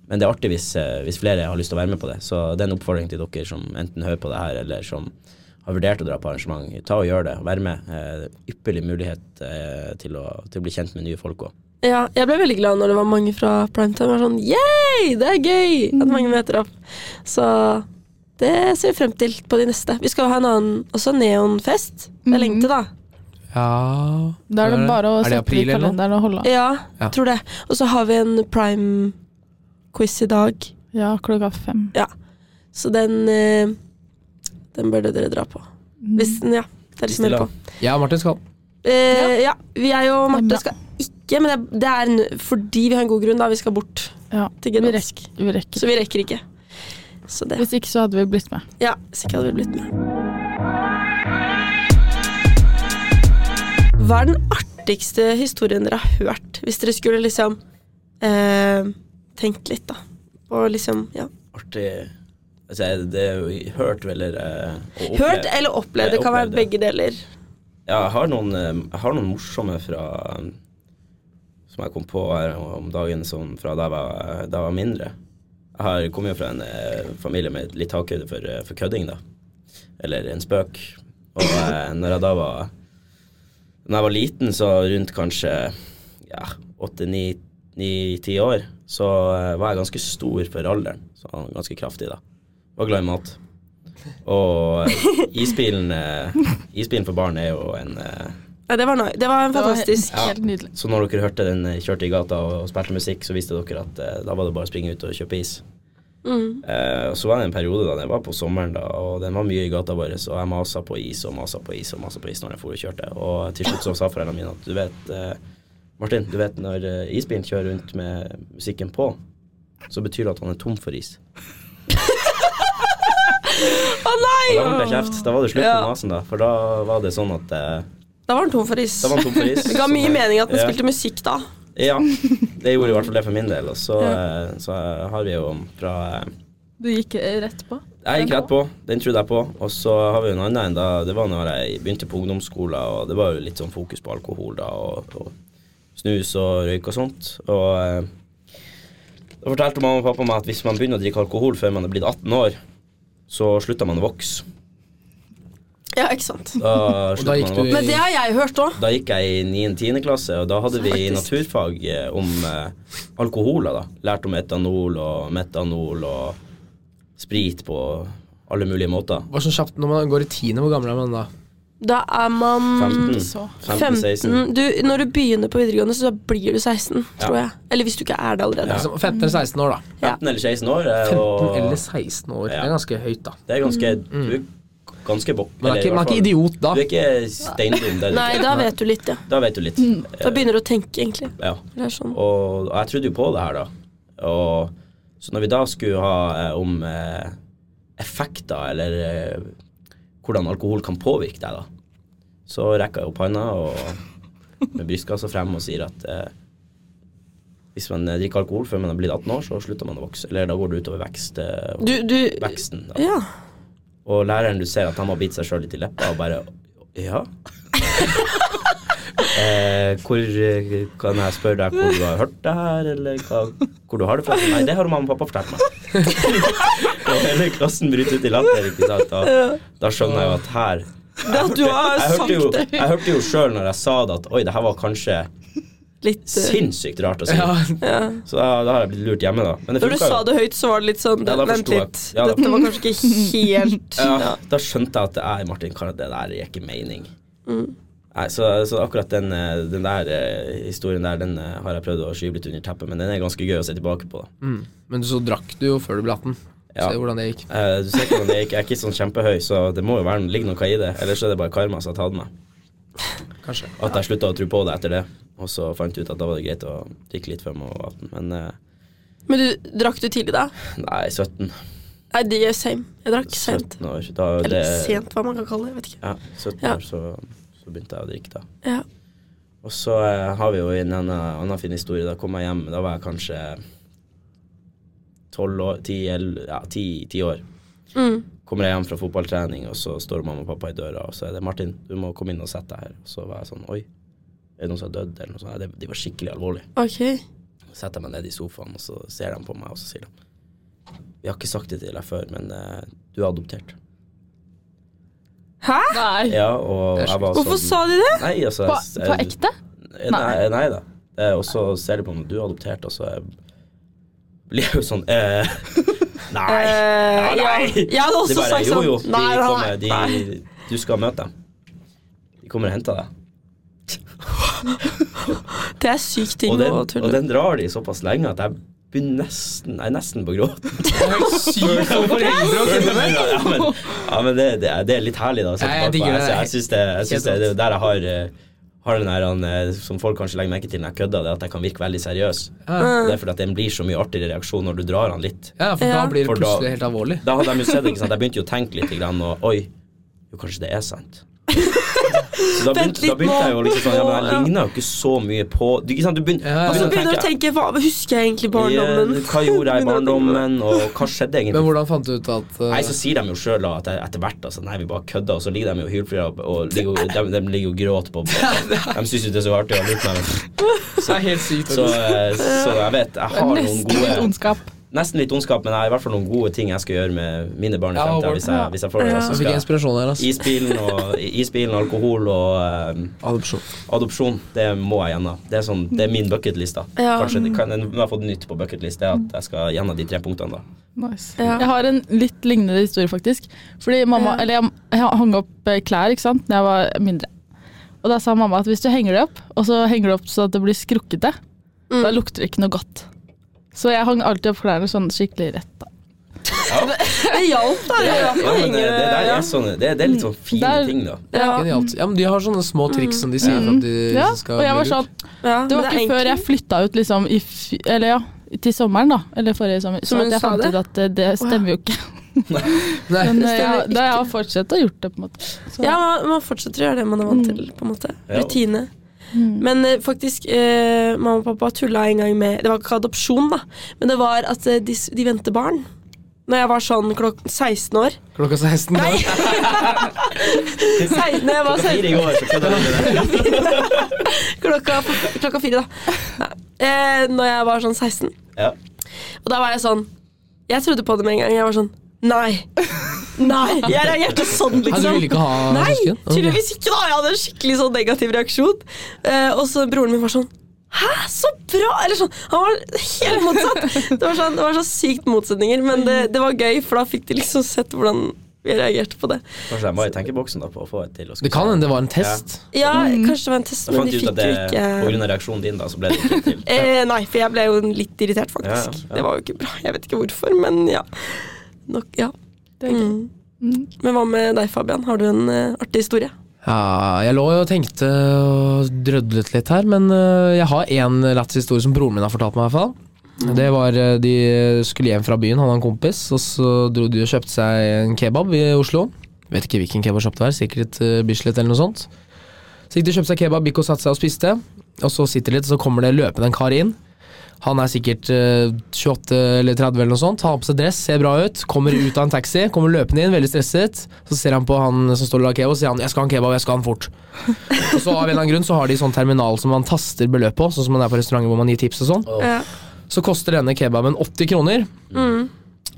Speaker 3: men det er artig hvis, eh, hvis flere har lyst til å være med på det. Så det er en oppfordring til dere som enten hører på det her, eller som har vurdert å dra på arrangement. Ta og gjør det, vær med. Eh, det er ypperlig mulighet eh, til, å, til å bli kjent med nye folk òg.
Speaker 1: Ja, jeg ble veldig glad når det var mange fra primetime. Jeg var sånn, Yay, det er gøy at mange
Speaker 4: Mm.
Speaker 1: møter opp. Så det ser vi frem til på de neste. Vi skal ha en annen også neonfest.
Speaker 4: Mm.
Speaker 1: Det er lenge til, da.
Speaker 2: Ja
Speaker 4: Da er det bare å
Speaker 2: Er det
Speaker 4: sette i
Speaker 2: april eller noe?
Speaker 4: kalenderen og holde av.
Speaker 1: Ja,
Speaker 2: Ja.
Speaker 1: tror det. Og så har vi en prime-quiz i dag.
Speaker 4: Ja, klokka fem.
Speaker 1: Så den, eh, den burde dere dra på.
Speaker 4: Mm.
Speaker 1: Hvis den, ja. Dere som hører på.
Speaker 2: Jeg og Martin skal.
Speaker 1: Eh, ja, vi er jo
Speaker 4: Det er bra.
Speaker 1: Marte skal ikke, men det er, det er en- fordi vi har en god grunn, da. Vi skal bort
Speaker 4: Ja,
Speaker 1: til
Speaker 4: vi
Speaker 1: Gdansk.
Speaker 4: rekker. Vi rekker.
Speaker 1: Så vi rekker ikke. Så det
Speaker 4: Hvis ikke så hadde vi blitt med.
Speaker 1: Ja, hvis ikke hadde vi blitt med. Hva er den artigste historien dere har hørt? Hvis dere skulle liksom eh, tenkt litt, da. Og liksom, ja.
Speaker 3: Artig. Altså, jeg- det er jo hørt eller eh, og opplevd.
Speaker 1: Hørt eller opplevd, det kan være
Speaker 3: Opplevd, ja.
Speaker 1: begge deler.
Speaker 3: Ja, jeg har noen, eh, jeg har noen morsomme fra Som jeg kom på her om dagen som fra da jeg var, da jeg var mindre. Jeg har kommer jo fra en eh, familie med litt takhøyde for, eh, for kødding, da. Eller en spøk. Og eh, når jeg da var Når jeg var liten, så rundt kanskje ja, åtte, ni, ni, ti år, så eh, var jeg ganske stor for alderen. Så ganske kraftig, da. Var glad i mat. Og eh, isbilen, eh, isbilen for barn er jo en eh,
Speaker 1: Ja, det var, noi- det var en
Speaker 4: Det var
Speaker 1: fantastisk
Speaker 4: Helt, helt nydelig.
Speaker 3: Så når dere hørte den eh, kjørte i gata og spilte musikk, så visste dere at eh, da var det bare å springe ut og kjøpe is.
Speaker 1: mm.
Speaker 3: Eh, og så var det en periode da det var på sommeren, da, og den var mye i gata vår, og jeg masa på is og masa på is og masa på is når jeg for og kjørte. Og til slutt så sa foreldrene mine at du vet, eh, Martin, du vet når eh, isbilen kjører rundt med musikken på, så betyr det at han er tom for is.
Speaker 1: Å nei!
Speaker 3: Og da holdt jeg kjeft. Da var det slutt
Speaker 1: Ja.
Speaker 3: på masen, da. For da var det sånn at eh,
Speaker 1: Da var den tom for is.
Speaker 3: da var han tom for is.
Speaker 1: Det ga mye
Speaker 3: Så-
Speaker 1: mening at den
Speaker 3: Ja.
Speaker 1: spilte musikk da.
Speaker 3: Ja, det gjorde i hvert fall det for min del. Og så, eh, så har vi jo fra eh,
Speaker 4: Du gikk eh, rett på.
Speaker 3: Jeg gikk rett på, den trodde jeg på. Og så har vi jo en annen en da. Det var når jeg begynte på ungdomsskolen, og det var jo litt sånn fokus på alkohol da, og, og snus og røyk og sånt. Og eh, da fortalte mamma og pappa meg at hvis man begynner å drikke alkohol før man er blitt 18 år, så slutter man å vokse.
Speaker 1: Ja, ikke sant.
Speaker 3: Da,
Speaker 2: Og
Speaker 3: slutter
Speaker 2: da
Speaker 3: man
Speaker 2: gikk
Speaker 3: å
Speaker 2: du
Speaker 3: vokse.
Speaker 1: Men det har jeg hørt òg.
Speaker 3: Da gikk jeg i 9.-10. klasse, og da hadde vi naturfag eh, om eh, alkoholer. da. Lærte om etanol og metanol og sprit på alle mulige måter.
Speaker 2: Hva er sånn kjapt når man går i tiende, hvor gammel er man da?
Speaker 1: Da er man
Speaker 3: 15,
Speaker 4: så.
Speaker 1: 15.
Speaker 3: 15-16.
Speaker 1: Du, når du begynner på videregående, så blir du 16, tror jeg. Eller hvis du ikke er det allerede.
Speaker 2: Liksom 15 eller 16 år, da.
Speaker 3: 15 eller 16 år. eh,
Speaker 2: 15 eller
Speaker 3: Og
Speaker 2: 16 år, det
Speaker 3: Ja.
Speaker 2: er ganske høyt, da.
Speaker 3: det er ganske Du er ganske bokk.
Speaker 2: Man er ikke, man er ikke idiot da.
Speaker 3: Du er ikke steindum. det er du
Speaker 1: Nei,
Speaker 3: ikke.
Speaker 1: da vet du litt, ja.
Speaker 3: Da vet du litt.
Speaker 1: Da begynner du å tenke, egentlig.
Speaker 3: Ja.
Speaker 1: Det er sånn.
Speaker 3: Og, og jeg trodde jo på det her, da. Og, så når vi da skulle ha eh, om eh, effekter, eller eh, hvordan alkohol kan påvirke deg, da, så rekker jeg opp handa og med brystkassa frem og sier at eh, hvis man eh, drikker alkohol før man har blitt 18 år, så slutter man å vokse. Eller da går det utover vekst, eh,
Speaker 1: Du, du
Speaker 3: veksten. Da.
Speaker 1: Ja.
Speaker 3: Og læreren, du ser at han har bitt seg sjøl litt i leppa og bare Ja? eh, hvor eh, Kan jeg spørre deg hvor du har hørt det her, eller hva, hvor du har det fra? Nei, det har mamma og pappa fortalt meg. og hele klassen bryter ut i latter, ikke sant. Da, da skjønner jeg jo at her
Speaker 1: Det at du har
Speaker 3: Jeg hørte jo,
Speaker 1: sagt det
Speaker 3: jeg hørte jo sjøl når jeg sa det, at oi, det her var kanskje
Speaker 1: litt eh,
Speaker 3: sinnssykt rart å si.
Speaker 2: Ja,
Speaker 1: ja.
Speaker 3: Så da, da har jeg blitt lurt hjemme, da. Men det
Speaker 1: Når du
Speaker 3: funka
Speaker 1: sa
Speaker 3: jo.
Speaker 1: det høyt, så var det litt sånn
Speaker 3: Ja, da
Speaker 1: Vent
Speaker 3: forsto jeg.
Speaker 1: litt.
Speaker 3: Ja, da-
Speaker 1: Dette var kanskje ikke helt
Speaker 3: Ja, da skjønte jeg at det er Martin Karre, det der gir ikke mening.
Speaker 1: Mm.
Speaker 3: Nei, så, så akkurat den, eh, den der eh, historien der, den eh, har jeg prøvd å skyve litt under teppet, men den er ganske gøy å se tilbake på, da.
Speaker 2: mm. Men så drakk du jo før du ble 18.
Speaker 3: Ja.
Speaker 2: Se hvordan det gikk.
Speaker 3: Eh, du ser hvordan det gikk. Jeg er ikke sånn kjempehøy, så det må jo være ligge noe i det. Ellers er det bare karma som har tatt meg.
Speaker 2: Kanskje.
Speaker 3: At jeg slutta å tro på det etter det, og så fant jeg ut at da var det greit å drikke litt før man var 18. Men eh,
Speaker 1: Men du, drakk du tidlig da?
Speaker 3: nei, 17.
Speaker 1: Nei, det er same. Jeg drakk sent.
Speaker 3: 17 år. Da det,
Speaker 1: Eller sent, hva man kan kalle det. Jeg vet ikke.
Speaker 3: Ja, 17
Speaker 1: Ja.
Speaker 3: år, så, så begynte jeg å drikke, da.
Speaker 1: Ja.
Speaker 3: Og så eh, har vi jo en annen, annen fin historie. Da kom jeg hjem, da var jeg kanskje 12 år, 10, ell- ja, 10, 10 år.
Speaker 1: Mm.
Speaker 3: Kommer jeg hjem fra fotballtrening, og så står mamma og pappa i døra, og så er det 'Martin, du må komme inn og sette deg her'. Og så var jeg sånn 'Oi, er det noen som har dødd?' eller noe sånt. Nei, det- De var skikkelig alvorlige.
Speaker 1: Ok.
Speaker 3: Så setter jeg meg ned i sofaen, og så ser de på meg, og så sier de 'Vi har ikke sagt det til deg før, men eh, du er adoptert'.
Speaker 1: Hæ?
Speaker 4: Nei.
Speaker 3: Ja, og
Speaker 2: Det er
Speaker 3: jeg var sånn
Speaker 1: Hvorfor sa de det?
Speaker 3: Nei, altså
Speaker 4: På,
Speaker 3: jeg-
Speaker 4: på ekte?
Speaker 3: Nei, nei da. Eh, og så ser de på meg, du er adoptert, og så eh, blir jeg jo sånn eh, Nei!
Speaker 1: Eh,
Speaker 3: nei.
Speaker 1: ja. Jeg hadde
Speaker 3: De
Speaker 1: også
Speaker 3: bare
Speaker 1: sagt
Speaker 3: jo,
Speaker 1: sånn.
Speaker 3: jo, de
Speaker 1: Nei, nei,
Speaker 3: kommer,
Speaker 1: nei. nei.
Speaker 3: de, du skal møte dem. De kommer og henter deg.
Speaker 1: Det er sykt ting
Speaker 3: Og den,
Speaker 1: å
Speaker 3: og
Speaker 1: tulle med.
Speaker 3: den drar de såpass lenge at jeg begynner nesten Jeg er nesten på gråten.
Speaker 2: Det er helt sykt som foreldre å
Speaker 3: Ja,
Speaker 2: kunne det.
Speaker 3: men, ja, men det, det, er- det er litt herlig, da. å se
Speaker 2: Ja, jeg
Speaker 3: tilbake på.
Speaker 2: digger
Speaker 3: Jeg,
Speaker 2: det.
Speaker 3: jeg, syns det, jeg synes det,
Speaker 2: Helt
Speaker 3: det er der jeg har, eh, har den her han, eh, som folk kanskje legger merke til når jeg kødder, det er at jeg kan virke veldig seriøs.
Speaker 2: Ja,
Speaker 1: Mm.
Speaker 3: Det er fordi at den blir så mye artigere reaksjon når du drar han litt.
Speaker 2: Ja, for da
Speaker 1: Ja.
Speaker 2: blir det
Speaker 3: For da-
Speaker 2: plutselig helt alvorlig.
Speaker 3: Da hadde de jo sett det, ikke sant. Jeg begynte jo å tenke litt, grann, og oi, jo, kanskje det er sant. Så da
Speaker 1: Vent
Speaker 3: begynte, da
Speaker 1: litt
Speaker 3: begynte
Speaker 1: nå.
Speaker 3: jeg jo liksom sånn Ja, men jeg
Speaker 1: Ja.
Speaker 3: ligner jo ikke så mye på Du, ikke sant, du altså, begynner,
Speaker 2: Ja, ja.
Speaker 1: Og så begynner du å
Speaker 3: tenke,
Speaker 1: tenke hva husker jeg egentlig barndommen?
Speaker 3: eh, Hva gjorde jeg i barndommen, og hva skjedde
Speaker 2: Men
Speaker 3: egentlig?
Speaker 2: hvordan fant du ut at eh,
Speaker 3: Nei, så sier de jo sjøl at jeg- etter hvert altså, Nei, vi bare kødda, og så ligger de jo og hylflirer og- og ligger, jo- de, de ligger og gråter på De syns jo det er så artig å lure meg.
Speaker 2: Det er helt sykt.
Speaker 3: Så, eh, så jeg vet Jeg har noen
Speaker 4: Nesten litt
Speaker 3: gode
Speaker 4: ondskap.
Speaker 3: Nesten litt ondskap, men jeg har i hvert fall noen gode ting jeg skal gjøre med mine barn i
Speaker 2: Ja,
Speaker 3: fremtiden
Speaker 2: Håvard.
Speaker 3: hvis, jeg- hvis jeg får det.
Speaker 1: Ja.
Speaker 3: Så
Speaker 2: Jeg fikk
Speaker 3: skal jeg
Speaker 2: inspirasjon her, altså.
Speaker 3: Isbilen, og, isbilen, alkohol og eh,
Speaker 2: Adopsjon.
Speaker 3: adopsjon, det må jeg gjennom. Det er, sånn, det er min bucketlist. da.
Speaker 1: Ja.
Speaker 3: Kanskje det kan, Nå har jeg fått nytt på bucketlist, det er at jeg skal gjennom de tre punktene. da.
Speaker 4: Nice.
Speaker 1: Ja.
Speaker 4: Jeg har en litt lignende historie, faktisk. Fordi mamma,
Speaker 1: Ja.
Speaker 4: eller jeg, jeg hang opp eh, klær ikke sant, da jeg var mindre. Og da sa mamma at hvis du henger det opp, og så henger det opp så at det blir skrukkete,
Speaker 1: Mm.
Speaker 4: da lukter det ikke noe godt. Så jeg hang alltid opp klærne sånn skikkelig rett. da.
Speaker 1: Det hjalp, da. Det hjalp
Speaker 3: Ja,
Speaker 1: å
Speaker 3: men eh,
Speaker 1: henge
Speaker 3: det, der
Speaker 1: ja.
Speaker 3: er sånn, det, det er litt sånn fine
Speaker 4: Der-
Speaker 3: ting, da.
Speaker 1: Ja.
Speaker 2: Genialt. Ja, men de har sånne små triks som de sier for at de
Speaker 4: Ja,
Speaker 2: ikke skal
Speaker 4: og
Speaker 2: bli
Speaker 4: jeg var
Speaker 2: lurt.
Speaker 4: sånn,
Speaker 1: Ja,
Speaker 4: Det var
Speaker 1: Mm. men
Speaker 4: ikke
Speaker 1: er
Speaker 4: før jeg
Speaker 1: enkelt.
Speaker 4: flytta ut liksom, i, f- eller ja, til sommeren, da. Eller forrige sommer.
Speaker 1: Som
Speaker 4: Så
Speaker 1: hun
Speaker 4: at jeg
Speaker 1: sa
Speaker 4: fant
Speaker 1: det?
Speaker 4: ut at eh, det stemmer jo ikke.
Speaker 2: Nei,
Speaker 4: Men eh,
Speaker 1: stemmer
Speaker 4: jeg,
Speaker 1: ikke.
Speaker 4: da jeg har fortsatt å gjort det, på en måte. Så,
Speaker 1: Ja, man, man fortsetter å gjøre det man er vant til, på en måte.
Speaker 3: Mm. Ja.
Speaker 1: Rutine.
Speaker 4: Mm.
Speaker 1: Men eh, faktisk, eh, mamma og pappa tulla en gang med Det var ikke adopsjon, da, men det var at eh, de, s- de venter barn. Når jeg var sånn klokk 16 år.
Speaker 2: klokka 16.
Speaker 1: Nei! 16, når jeg var
Speaker 3: Klokka fire
Speaker 1: 16
Speaker 3: i går, så kødder jeg med det.
Speaker 1: klokka, klokka fire, da. Nei, Eh, når jeg var sånn 16.
Speaker 3: Ja.
Speaker 1: Og da var jeg sånn Jeg trodde på det med en gang. Jeg var sånn Nei! Nei! Jeg reagerte sånn,
Speaker 2: Nei, du
Speaker 1: liksom.
Speaker 2: ville ikke ha
Speaker 1: Nei,
Speaker 2: søsken? Ok.
Speaker 1: tydeligvis ikke. da Jeg hadde en skikkelig sånn negativ reaksjon. Eh, og så broren min var sånn Hæ, så bra! Eller sånn, Han var helt motsatt. Det var, sånn, det var så sykt motsetninger, men det, det var gøy, for da fikk de liksom sett hvordan vi reagerte på det.
Speaker 3: Kanskje jeg må i tenkeboksen da på å få et til. og skal
Speaker 2: Det kan
Speaker 3: se.
Speaker 2: hende det var en test.
Speaker 1: Ja,
Speaker 4: Mm.
Speaker 1: kanskje det var en test,
Speaker 3: Jeg
Speaker 1: men
Speaker 3: fant
Speaker 1: de
Speaker 3: ut at
Speaker 1: fikk
Speaker 3: det,
Speaker 1: jo
Speaker 3: på
Speaker 1: ikke
Speaker 3: grunn av reaksjonen din, da, så ble det ikke til.
Speaker 1: eh, Nei, for jeg ble jo litt irritert, faktisk.
Speaker 3: Ja, ja.
Speaker 1: Det var jo ikke bra. Jeg vet ikke hvorfor, men ja. Nok, ja.
Speaker 4: Det er gøy.
Speaker 1: Mm.
Speaker 4: Mm.
Speaker 1: Men hva med deg, Fabian? Har du en eh, artig historie?
Speaker 2: Ja, jeg lå jo og tenkte og drødlet litt her, men øh, jeg har én lættis historie som broren min har fortalt meg. i hvert fall Det var øh, De skulle hjem fra byen, han og en kompis, og så dro de og kjøpte seg en kebab i Oslo. Vet ikke hvilken kebab kjøpte her, sikkert øh, Bislett eller noe sånt. Så gikk de og kjøpte seg kebab, gikk og satte seg og spiste, og så sitter de litt, og så kommer det løpende en kar inn. Han er sikkert øh, 28 eller 30 eller noe sånt. Han har på seg dress, ser bra ut. Kommer ut av en taxi, kommer løpende inn, veldig stresset. Så ser han på han som står og lager kebab, og sier han 'jeg skal ha en kebab, jeg skal ha den fort'. og så av en eller annen grunn så har de sånn terminal som man taster beløp på, sånn som man er på restauranter hvor man gir tips og sånn.
Speaker 1: Ja.
Speaker 2: Så koster denne kebaben 80 kroner.
Speaker 1: Mm.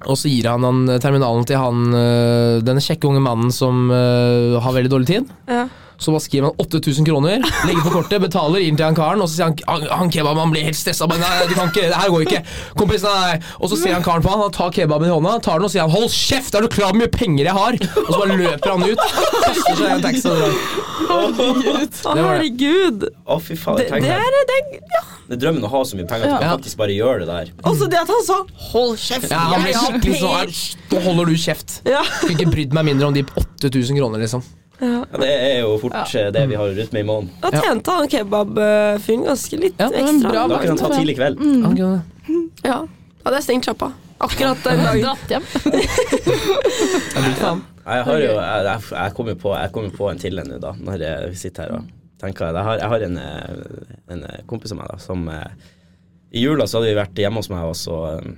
Speaker 2: Og så gir han, han eh, terminalen til han øh, denne kjekke unge mannen som øh, har veldig dårlig tid.
Speaker 1: Ja.
Speaker 2: Så bare skriver han 8000 kroner, legger på kortet, betaler inn til han karen, og så sier han han, han kebaben han blir helt stressa. Nei, nei, du kan ikke, det her går ikke. Kompis, nei, nei. Og så ser han karen på han, han tar kebaben i hånda, tar den og sier han 'hold kjeft, er du klar over hvor mye penger jeg har?' Og så bare løper han ut. Kaster seg i en taxi og drar.
Speaker 1: Å,
Speaker 2: Det var det.
Speaker 1: herregud!
Speaker 3: Å, fy faen.
Speaker 1: Det,
Speaker 3: jeg
Speaker 1: det
Speaker 3: tenker-
Speaker 1: er det er-
Speaker 3: Det er drømmen å ha så mye penger at du
Speaker 2: Ja.
Speaker 3: kan faktisk bare gjøre det der.
Speaker 1: Også Altså, det at han sa 'hold kjeft'.
Speaker 2: Ja, han blir
Speaker 1: jeg har
Speaker 2: skikkelig sånn
Speaker 1: penger».
Speaker 2: «Er- hysj, Nå holder du kjeft.
Speaker 1: Ja.
Speaker 2: Skulle ikke brydd meg mindre om de 8000 kroner, liksom.
Speaker 3: Ja, det er jo fort eh, det vi har rundt med i måneden.
Speaker 1: Da tjente han kebabfyren ganske litt
Speaker 2: Ja, det var en
Speaker 1: ekstra.
Speaker 4: bra
Speaker 3: Da kan han ta tidlig kveld.
Speaker 1: Mm.
Speaker 2: Han kunne det.
Speaker 1: Ja. Hadde jeg stengt sjappa akkurat den dagen.
Speaker 4: Dratt hjem.
Speaker 2: Jeg blir faen.
Speaker 3: Jeg, har jo, jeg, jeg- jeg kommer jo på, jeg kommer på en til en nå, da, når jeg sitter her og tenker. Jeg har, jeg har en, eh, en eh, kompis av meg da, som eh, I jula så hadde vi vært hjemme hos meg, og så eh,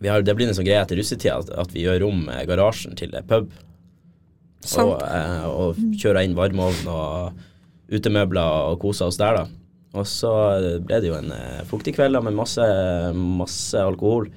Speaker 3: vi har, Det blir en sånn greie etter russetida at, at vi gjør om eh, garasjen til eh, pub. Og,
Speaker 1: Sant.
Speaker 3: eh, og kjører inn varmeovn og utemøbler og koser oss der, da. Og så ble det jo en eh, fuktig kveld da, med masse, masse alkohol.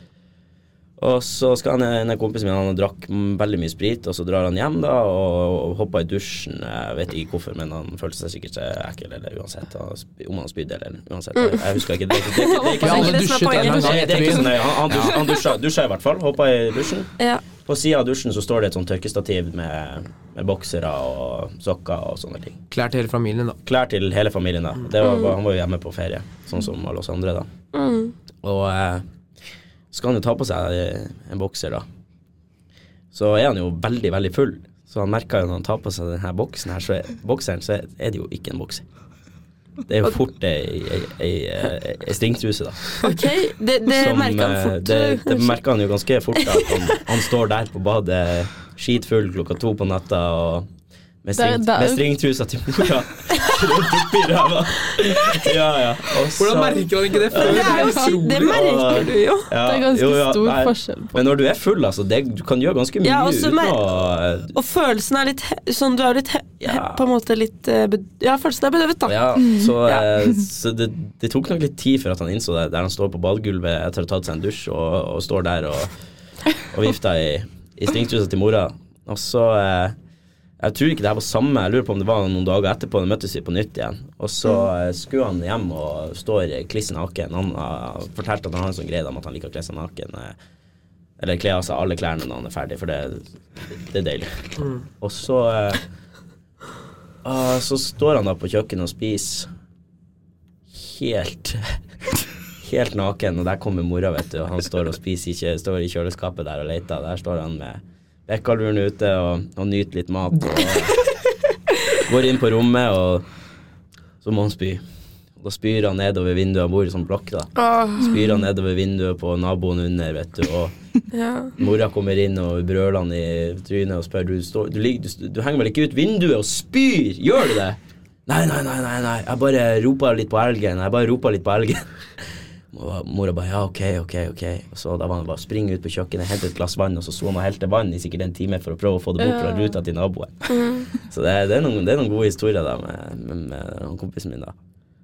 Speaker 3: Og så skal han, en kompis min, han drakk m- veldig mye sprit, og så drar han hjem da, og, og hopper i dusjen. Jeg vet ikke hvorfor, men han følte seg sikkert eh, ekkel, eller uansett. Han, sp- om han spydde, eller uansett. Jeg, jeg husker ikke. Det, det, det, det, det,
Speaker 2: Vi
Speaker 3: det,
Speaker 2: har alle
Speaker 1: Det er ikke det
Speaker 2: dusjet
Speaker 1: som er
Speaker 2: en eller annen
Speaker 3: det,
Speaker 2: gang
Speaker 3: det
Speaker 2: etter
Speaker 3: er ikke sånn.
Speaker 2: byen.
Speaker 3: så nøye. Han, han, dusja, han dusja, dusja i hvert fall. Hoppa i dusjen.
Speaker 1: Ja.
Speaker 3: På sida av dusjen så står det et sånt tørkestativ med, med boksere og sokker og sånne ting.
Speaker 2: Klær til hele familien, da.
Speaker 3: Klær til hele familien, da. Det var, Han var jo hjemme på ferie, sånn som alle oss andre, da.
Speaker 1: Mm.
Speaker 3: Og eh, skal han jo ta på seg eh, en bokser, da. Så er han jo veldig, veldig full. Så han merker jo når han tar på seg denne boksen her, så er, bokseren, så er- er det jo ikke en bokser. Det er jo fort ei, ei, ei, eh, ei, ei stringtruse, da.
Speaker 1: Ok, det, det
Speaker 3: Som,
Speaker 1: merka han
Speaker 3: eh,
Speaker 1: fort.
Speaker 3: Det, det merker han jo ganske fort, da. at Han, han står der på badet skitfull klokka to på natta og Med,
Speaker 4: Det er-
Speaker 3: string,
Speaker 4: det er-
Speaker 3: med stringtrusa til mora. Rundt oppi ræva. Ja, ja. Og så-
Speaker 2: Hvordan merker han ikke det?
Speaker 1: Men det, er jo, sykt, det merker du jo.
Speaker 3: Ja,
Speaker 4: Det er ganske
Speaker 3: jo, ja,
Speaker 4: stor
Speaker 3: nei.
Speaker 4: forskjell på
Speaker 3: Men når du er full, altså, det, du kan gjøre ganske mye
Speaker 1: Ja, og så
Speaker 3: uten
Speaker 1: mer-
Speaker 3: å eh,
Speaker 1: Og følelsen er litt he- sånn Du er jo litt he, he,
Speaker 3: Ja.
Speaker 1: På en måte litt eh, bed, Ja, følelsen er bedøvet, da. Mm.
Speaker 3: Ja, så,
Speaker 1: Ja.
Speaker 3: eh, så det, det tok nok litt tid før at han innså det, der han står på badegulvet etter å ha tatt seg en dusj og, og står der og, og vifter i, i stringtrusa til mora. Og så eh, Jeg tror ikke det her var samme, jeg lurer på om det var noen dager etterpå, da møttes vi på nytt igjen. Og så
Speaker 1: Mm.
Speaker 3: eh, skulle han hjem og står klissen naken. Han har fortalt at han har en sånn greie om at han liker å kle seg naken. eh, Eller kle av seg alle klærne når han er ferdig, for det, det er deilig.
Speaker 1: Mm.
Speaker 3: Og så eh, ah, Så står han da på kjøkkenet og spiser helt Helt naken, og der kommer mora, vet du. Og han står og spiser ikke, står i kjøleskapet der og leter. Der står han med bekkaluren ute og, og nyter litt mat. Og går inn på rommet, og så må han spy. Og da spyr han nedover vinduet. Han bor i sånn blokk, da.
Speaker 1: Åh,
Speaker 3: Spyr han nedover vinduet på naboen under, vet du. Og
Speaker 1: ja.
Speaker 3: Mora kommer inn og brøler han i trynet og spør du, står, du, ligger, du, du henger vel ikke ut vinduet og spyr, gjør du det? Nei, nei, nei, nei, nei. jeg bare ropa litt på elgen. Jeg bare ropa litt på elgen. Og Mora bare ja, ok, ok, ok. Og så da var han bare å springe ut på kjøkkenet, hente et glass vann, og så sto han og helte vann i sikkert en time for å prøve å få det bort fra
Speaker 4: Ja.
Speaker 3: ruta til naboen. Så det, er- det, er, noen, det er noen gode historier da med, med, med han kompisen min, da.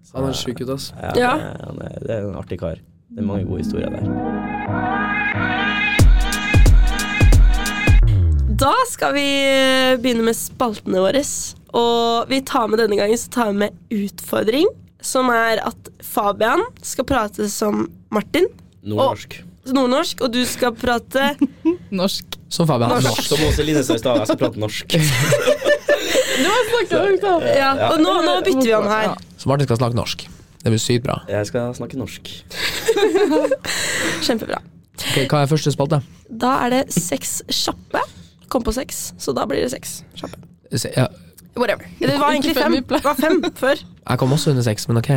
Speaker 3: Så,
Speaker 2: Han er sjuk ut, ass.
Speaker 3: Ja,
Speaker 1: Ja.
Speaker 3: det er- Han er, det er en artig kar. Det er mange gode historier der.
Speaker 1: Da skal vi eh, begynne med spaltene våre. Og vi tar med denne gangen så tar vi med utfordring. Som er at Fabian skal prate som Martin,
Speaker 3: Nordnorsk.
Speaker 1: nordnorsk, og du skal prate
Speaker 4: norsk.
Speaker 2: Som Fabian.
Speaker 1: Norsk.
Speaker 3: Som Åse Line sa i stad, jeg skal prate norsk.
Speaker 1: ja. Og nå, nå bytter vi om her.
Speaker 2: Så Martin skal snakke norsk. Det blir sykt bra.
Speaker 3: Jeg skal snakke norsk.
Speaker 1: Kjempebra.
Speaker 2: Ok, hva er første spalte?
Speaker 1: Da er det seks kjappe. Kom på seks, så da blir det seks. Kjappe.
Speaker 2: Se- Ja,
Speaker 1: Whatever. Det var egentlig fem. Det var fem før.
Speaker 2: jeg kom også under seks, men ok.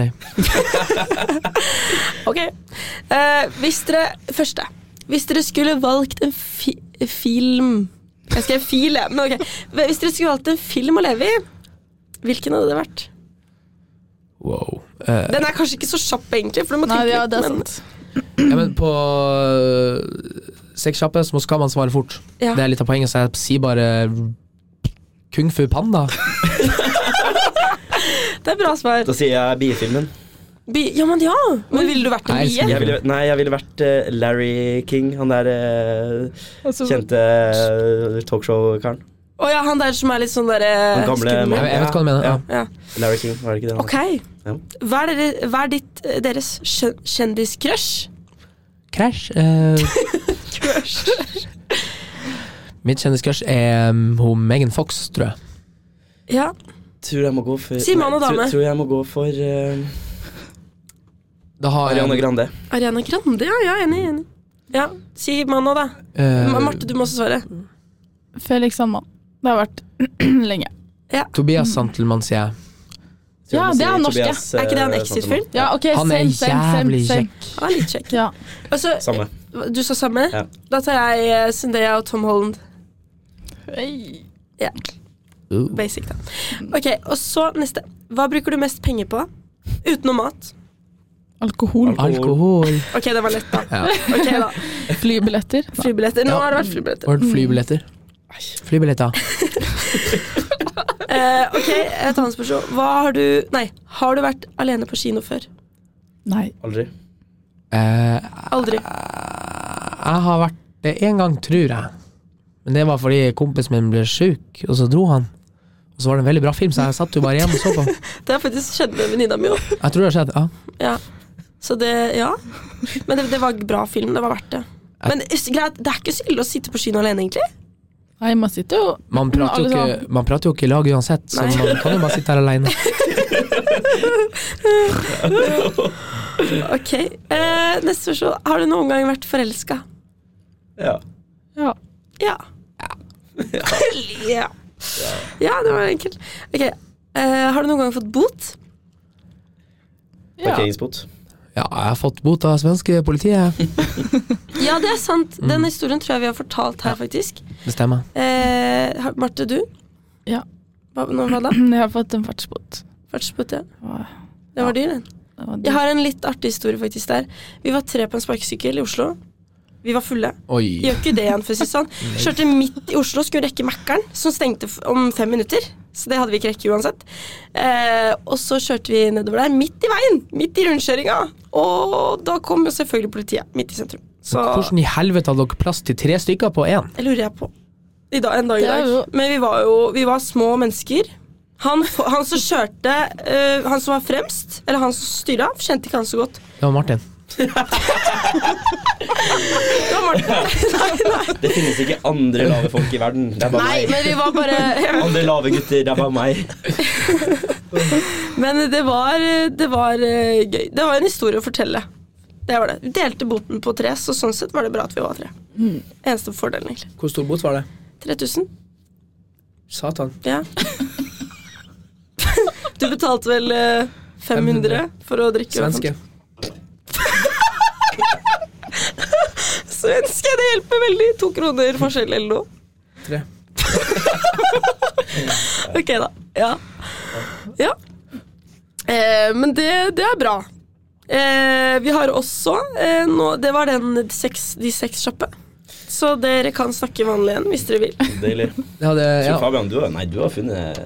Speaker 1: Ok. Eh, hvis dere Første. Hvis dere skulle valgt en fi film Jeg skrev fil, jeg, men ok. Hvis dere skulle valgt en film å leve i, hvilken hadde det vært?
Speaker 2: Wow. Eh,
Speaker 1: Den er kanskje ikke så kjapp, egentlig, for du må
Speaker 4: Nei,
Speaker 1: tenke
Speaker 4: ja, det
Speaker 1: litt.
Speaker 4: er
Speaker 1: men-
Speaker 4: sant.
Speaker 2: ja, men på eh, seks kjappe så skal man svare fort.
Speaker 1: Ja.
Speaker 2: Det er litt av poenget, så jeg sier bare Kung fu panda.
Speaker 1: Det er bra svar.
Speaker 3: Da sier jeg biefilmen.
Speaker 1: Bi ja, men ja! Men ville du vært en
Speaker 2: Nei, jeg elsker
Speaker 1: bie?
Speaker 2: det.
Speaker 3: Jeg ville, nei, jeg ville vært eh, Larry King, han der eh,
Speaker 4: Altså,
Speaker 3: kjente eh, talkshow-karen.
Speaker 1: Å ja, han der som er litt sånn derre
Speaker 3: Han gamle
Speaker 1: skummel.
Speaker 2: Jeg,
Speaker 3: mannen.
Speaker 2: jeg vet hva du mener. Ja.
Speaker 1: Ja.
Speaker 3: Larry King, var det ikke det? han-
Speaker 1: Ok.
Speaker 3: Ja.
Speaker 1: Hva er, dere, hva er ditt, eh, deres kjø- kjendiscrush?
Speaker 2: Crash. eh, mitt kjendiscrush er mm, hun Megan Fox, tror jeg.
Speaker 1: Ja.
Speaker 3: Tror jeg må gå for
Speaker 1: Si mann og
Speaker 3: nei,
Speaker 1: dame.
Speaker 3: Tror, tror jeg må gå for eh,
Speaker 2: Da har
Speaker 3: Ariana Grande.
Speaker 1: Ariana Grande, ja. ja enig. enig. Ja, Si mann nå, da.
Speaker 2: eh,
Speaker 1: Ma- Marte, du må også svare.
Speaker 4: Felix Sandman. Det har vært lenge.
Speaker 2: Tobias Santelmann, sier jeg.
Speaker 3: Tror jeg
Speaker 4: Ja,
Speaker 3: må
Speaker 4: det
Speaker 3: si
Speaker 4: er han norske.
Speaker 3: Tobias,
Speaker 1: Er ikke det han
Speaker 3: eh,
Speaker 1: Exit-film?
Speaker 3: Santelmann.
Speaker 4: Ja, ok,
Speaker 2: Han er
Speaker 4: same, same, same,
Speaker 2: jævlig
Speaker 4: same.
Speaker 1: Ja, litt kjekk.
Speaker 4: Ja.
Speaker 1: Og så,
Speaker 3: Samme.
Speaker 1: du sa samme?
Speaker 3: Ja.
Speaker 1: Da tar jeg eh, Zendaya og Tom Holland.
Speaker 4: Hey.
Speaker 2: Uh.
Speaker 1: Basic, da. Ok, Og så neste. Hva bruker du mest penger på? Utenom mat.
Speaker 4: Alkohol.
Speaker 2: Alkohol.
Speaker 1: Ok, det var lett, da.
Speaker 2: Ja.
Speaker 1: Ok da,
Speaker 4: Flybilletter.
Speaker 1: Flybilletter. Nå
Speaker 2: Ja.
Speaker 1: har det vært flybilletter.
Speaker 2: Og flybilletter. Flybilletter.
Speaker 1: Eh, ok, Et annet spørsmål. Hva har du Nei, har du vært alene på kino før?
Speaker 4: Nei.
Speaker 3: Aldri.
Speaker 2: Eh,
Speaker 1: Aldri.
Speaker 2: jeg har vært det én gang, tror jeg. Men det var fordi kompisen min ble sjuk, og så dro han. Og så var det en veldig bra film, så jeg satt jo bare hjemme og så på.
Speaker 1: Det har faktisk skjedd med venninna mi òg.
Speaker 2: Jeg tror det har skjedd. Ja.
Speaker 1: Ja. Så det Ja. Men det, det var bra film. Det var verdt det. Men s- greit, det er ikke så ille å sitte på kino alene, egentlig.
Speaker 4: Nei, man sitter jo
Speaker 2: Man prater, jo
Speaker 4: Alle
Speaker 2: ikke, man prater jo ikke i lag uansett, så
Speaker 1: Nei.
Speaker 2: man kan jo bare sitte her alene.
Speaker 1: Ok, eh, Neste spørsmål. Har du noen gang vært forelska?
Speaker 3: Ja.
Speaker 4: Ja.
Speaker 1: Ja. Ja. ja, det var enkelt. Ok, eh, Har du noen gang fått bot?
Speaker 4: ja.
Speaker 3: Parkeringsbot.
Speaker 2: Ja, jeg har fått bot av svenske politiet.
Speaker 1: Ja, det er sant. Den historien tror jeg vi har fortalt her, faktisk.
Speaker 2: Det stemmer.
Speaker 1: Eh, har- Marte, du?
Speaker 4: Ja.
Speaker 1: Hva, nå, hva da?
Speaker 4: Jeg har fått en fartsbot.
Speaker 1: Fartsbot, ja.
Speaker 4: Åh,
Speaker 1: Den
Speaker 4: Ja.
Speaker 1: var dyr, den.
Speaker 4: det var
Speaker 1: Jeg
Speaker 4: dyrt.
Speaker 1: har en litt artig historie faktisk der. Vi var tre på en sparkesykkel i Oslo. Vi var fulle.
Speaker 2: Oi.
Speaker 1: Gjør ikke det igjen, for å si det sånn. Kjørte midt i Oslo, skulle rekke Mækkern, som stengte f- om fem minutter. Så det hadde vi ikke rekke uansett. Eh, og så kjørte vi nedover der, midt i veien! Midt i rundkjøringa. Og da kom jo selvfølgelig politiet, midt i sentrum. Så
Speaker 2: Hvordan i helvete hadde dere plass til tre stykker på én?
Speaker 1: det lurer jeg på. I dag, en dag i
Speaker 4: Det er
Speaker 1: dag.
Speaker 4: jo-
Speaker 1: Men vi var jo vi var små mennesker. Han, f- han som kjørte, eh, han som var fremst, eller han som styra, kjente ikke han så godt.
Speaker 2: Det var Martin.
Speaker 1: Det var Martin. Nei, nei.
Speaker 3: Det finnes ikke andre lave folk i verden. Det er bare
Speaker 1: Nei,
Speaker 3: meg.
Speaker 1: men vi var bare
Speaker 3: Andre lave gutter, det er bare meg.
Speaker 1: Men det var, det var eh, gøy. Det var en historie å fortelle. Det var det. Vi delte boten på tre, så sånn sett var det bra at vi var tre. Eneste fordelen, egentlig.
Speaker 2: Hvor stor bot var det?
Speaker 1: 3000.
Speaker 2: Satan.
Speaker 1: Ja. Du betalte vel eh, 500 for å drikke?
Speaker 2: Svenske.
Speaker 1: Svenske, det hjelper veldig. To kroner forskjell eller noe.
Speaker 2: Tre.
Speaker 1: Ok, da. Ja. ja. Eh, men det, det er bra. Eh, vi har også eh, nå, Det var den sex, de seks kjappe. Så dere kan snakke vanlig igjen hvis dere vil.
Speaker 3: Deilig.
Speaker 2: Det hadde,
Speaker 3: Så
Speaker 2: ja.
Speaker 3: Fabian, du har, nei, du har funnet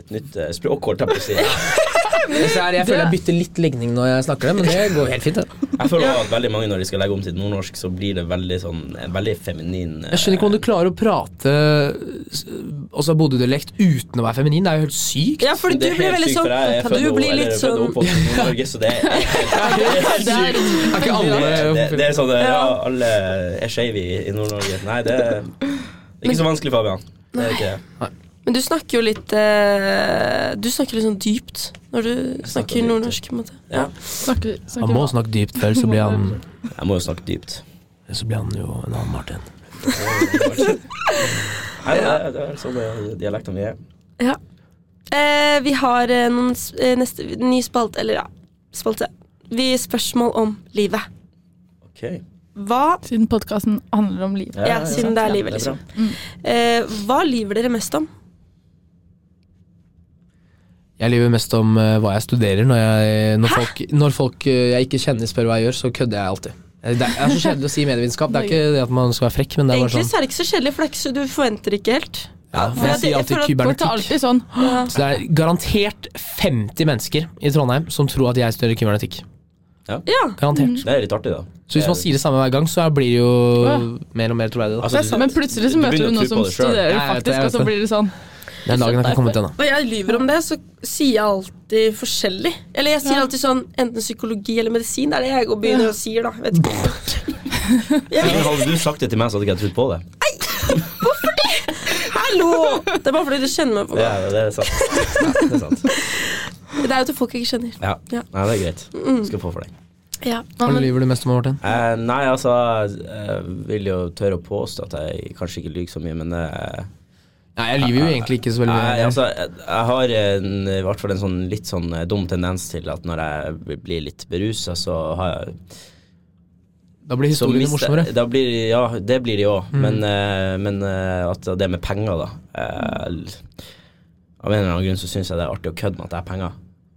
Speaker 3: et nytt eh, språk, holdt jeg på å si. Jeg
Speaker 2: Så her, jeg føler jeg bytter litt ligning når jeg snakker det, men det går helt fint. Det.
Speaker 3: føler at veldig mange når de skal legge om til nordnorsk, så blir det veldig sånn en veldig feminin eh,
Speaker 2: Jeg skjønner ikke om du klarer å prate s- altså Bodø-dialekt uten å være feminin. Det er jo helt sykt.
Speaker 1: Ja, for du
Speaker 3: det er
Speaker 1: blir
Speaker 3: helt
Speaker 1: veldig
Speaker 3: sykt, for jeg er
Speaker 1: sånn
Speaker 3: født
Speaker 1: Du
Speaker 3: og-
Speaker 1: blir
Speaker 3: eller
Speaker 1: litt
Speaker 3: født og
Speaker 1: sånn
Speaker 3: oppvokst i Norge, så det er,
Speaker 4: Det er
Speaker 2: Er ikke alle
Speaker 3: det, det er sånn eh, ja,
Speaker 1: Ja.
Speaker 3: alle er skeive i, i Nord-Norge. Nei, det er det er ikke så vanskelig, Fabian. Det er ikke det.
Speaker 1: Men du snakker jo litt eh, Du snakker litt sånn dypt når du
Speaker 3: snakker
Speaker 1: snakker
Speaker 3: dypt,
Speaker 1: nordnorsk. på en måte
Speaker 3: Ja.
Speaker 4: Snakker, snakker
Speaker 2: Han må snakke dypt, for ellers så blir han
Speaker 3: Jeg må jo snakke dypt.
Speaker 2: Så blir han jo en annen Martin.
Speaker 3: Nei, det er, det er sånn eh, dialektene vi er.
Speaker 1: Ja. Eh, vi har eh, noen s- eh, neste, ny spalte, eller ja, spalte. Vi spørsmål om livet.
Speaker 3: Ok.
Speaker 1: Hva
Speaker 4: Siden podkasten handler om liv.
Speaker 3: Ja,
Speaker 1: Ja, siden
Speaker 3: sant,
Speaker 1: det er
Speaker 3: ja,
Speaker 1: livet,
Speaker 3: bra.
Speaker 1: liksom. Eh, hva lyver dere mest om?
Speaker 2: Jeg lyver mest om eh, hva jeg studerer. Når, jeg, når folk, når folk eh, jeg ikke kjenner spør hva jeg gjør, så kødder jeg alltid. Eh, Det er, det er så kjedelig å si medievitenskap. Det er ikke det at man skal være frekk, men det er bare
Speaker 1: Egentlig
Speaker 2: sånn
Speaker 1: så er det ikke så kjedelig, for det er ikke så, du forventer ikke helt.
Speaker 2: ja, for Jeg
Speaker 1: jeg- jeg
Speaker 2: sier
Speaker 1: føler
Speaker 2: alltid
Speaker 1: at
Speaker 4: Folk er
Speaker 2: kybernetikk.
Speaker 4: alltid sånn.
Speaker 1: Ja.
Speaker 2: Så det er garantert 50 mennesker i Trondheim som tror at jeg studerer kybernetikk.
Speaker 1: ja.
Speaker 2: Garantert.
Speaker 3: Det er litt artig, da.
Speaker 4: Mm.
Speaker 2: Så hvis man sier det samme hver gang, så blir det jo mer og mer troverdig. da.
Speaker 3: Altså,
Speaker 1: Det er sant.
Speaker 4: Men plutselig
Speaker 3: Du
Speaker 4: så møter
Speaker 3: begynner å
Speaker 4: du
Speaker 3: tro på
Speaker 4: noen som
Speaker 3: det selv.
Speaker 4: studerer
Speaker 2: Ja, jeg vet det,
Speaker 4: faktisk,
Speaker 2: jeg
Speaker 4: og
Speaker 2: vet
Speaker 4: så
Speaker 2: det.
Speaker 4: blir det sånn.
Speaker 2: Den dagen jeg kan komme til ennå.
Speaker 1: Når jeg lyver om det, så sier jeg alltid forskjellig. Eller jeg sier
Speaker 4: Ja.
Speaker 1: alltid sånn enten psykologi eller medisin. Det er det jeg går og begynner og sier, da. Vet ikke. Jeg,
Speaker 3: Hadde du sagt det til meg, så hadde ikke jeg trodd på det.
Speaker 1: hallo! Det er bare fordi du kjenner meg. på
Speaker 3: Det
Speaker 1: meg.
Speaker 3: er, det er sant. Ja, det er sant.
Speaker 1: Det er jo til folk jeg ikke kjenner.
Speaker 3: Ja.
Speaker 1: Ja. Mm.
Speaker 3: Nei, det er greit. Skal få for deg.
Speaker 1: Ja.
Speaker 2: Hva
Speaker 4: men-
Speaker 2: lyver du mest om, Martin?
Speaker 3: Eh, nei, altså, jeg vil jo tørre å påstå at jeg kanskje ikke lyver så mye, men eh,
Speaker 2: Nei, jeg lyver jo egentlig ikke så veldig mye.
Speaker 3: Nei, altså, jeg, jeg har en, i hvert fall en sånn litt sånn eh, dum tendens til at når jeg blir litt berusa, så har jeg
Speaker 2: da Mm. blir
Speaker 3: så
Speaker 2: historiene
Speaker 3: mister-
Speaker 2: morsommere.
Speaker 3: Da blir, ja, det blir de òg, men, eh, men eh, at det med penger, da eh, l- Av en eller annen grunn så syns jeg det er artig å kødde med at jeg har penger.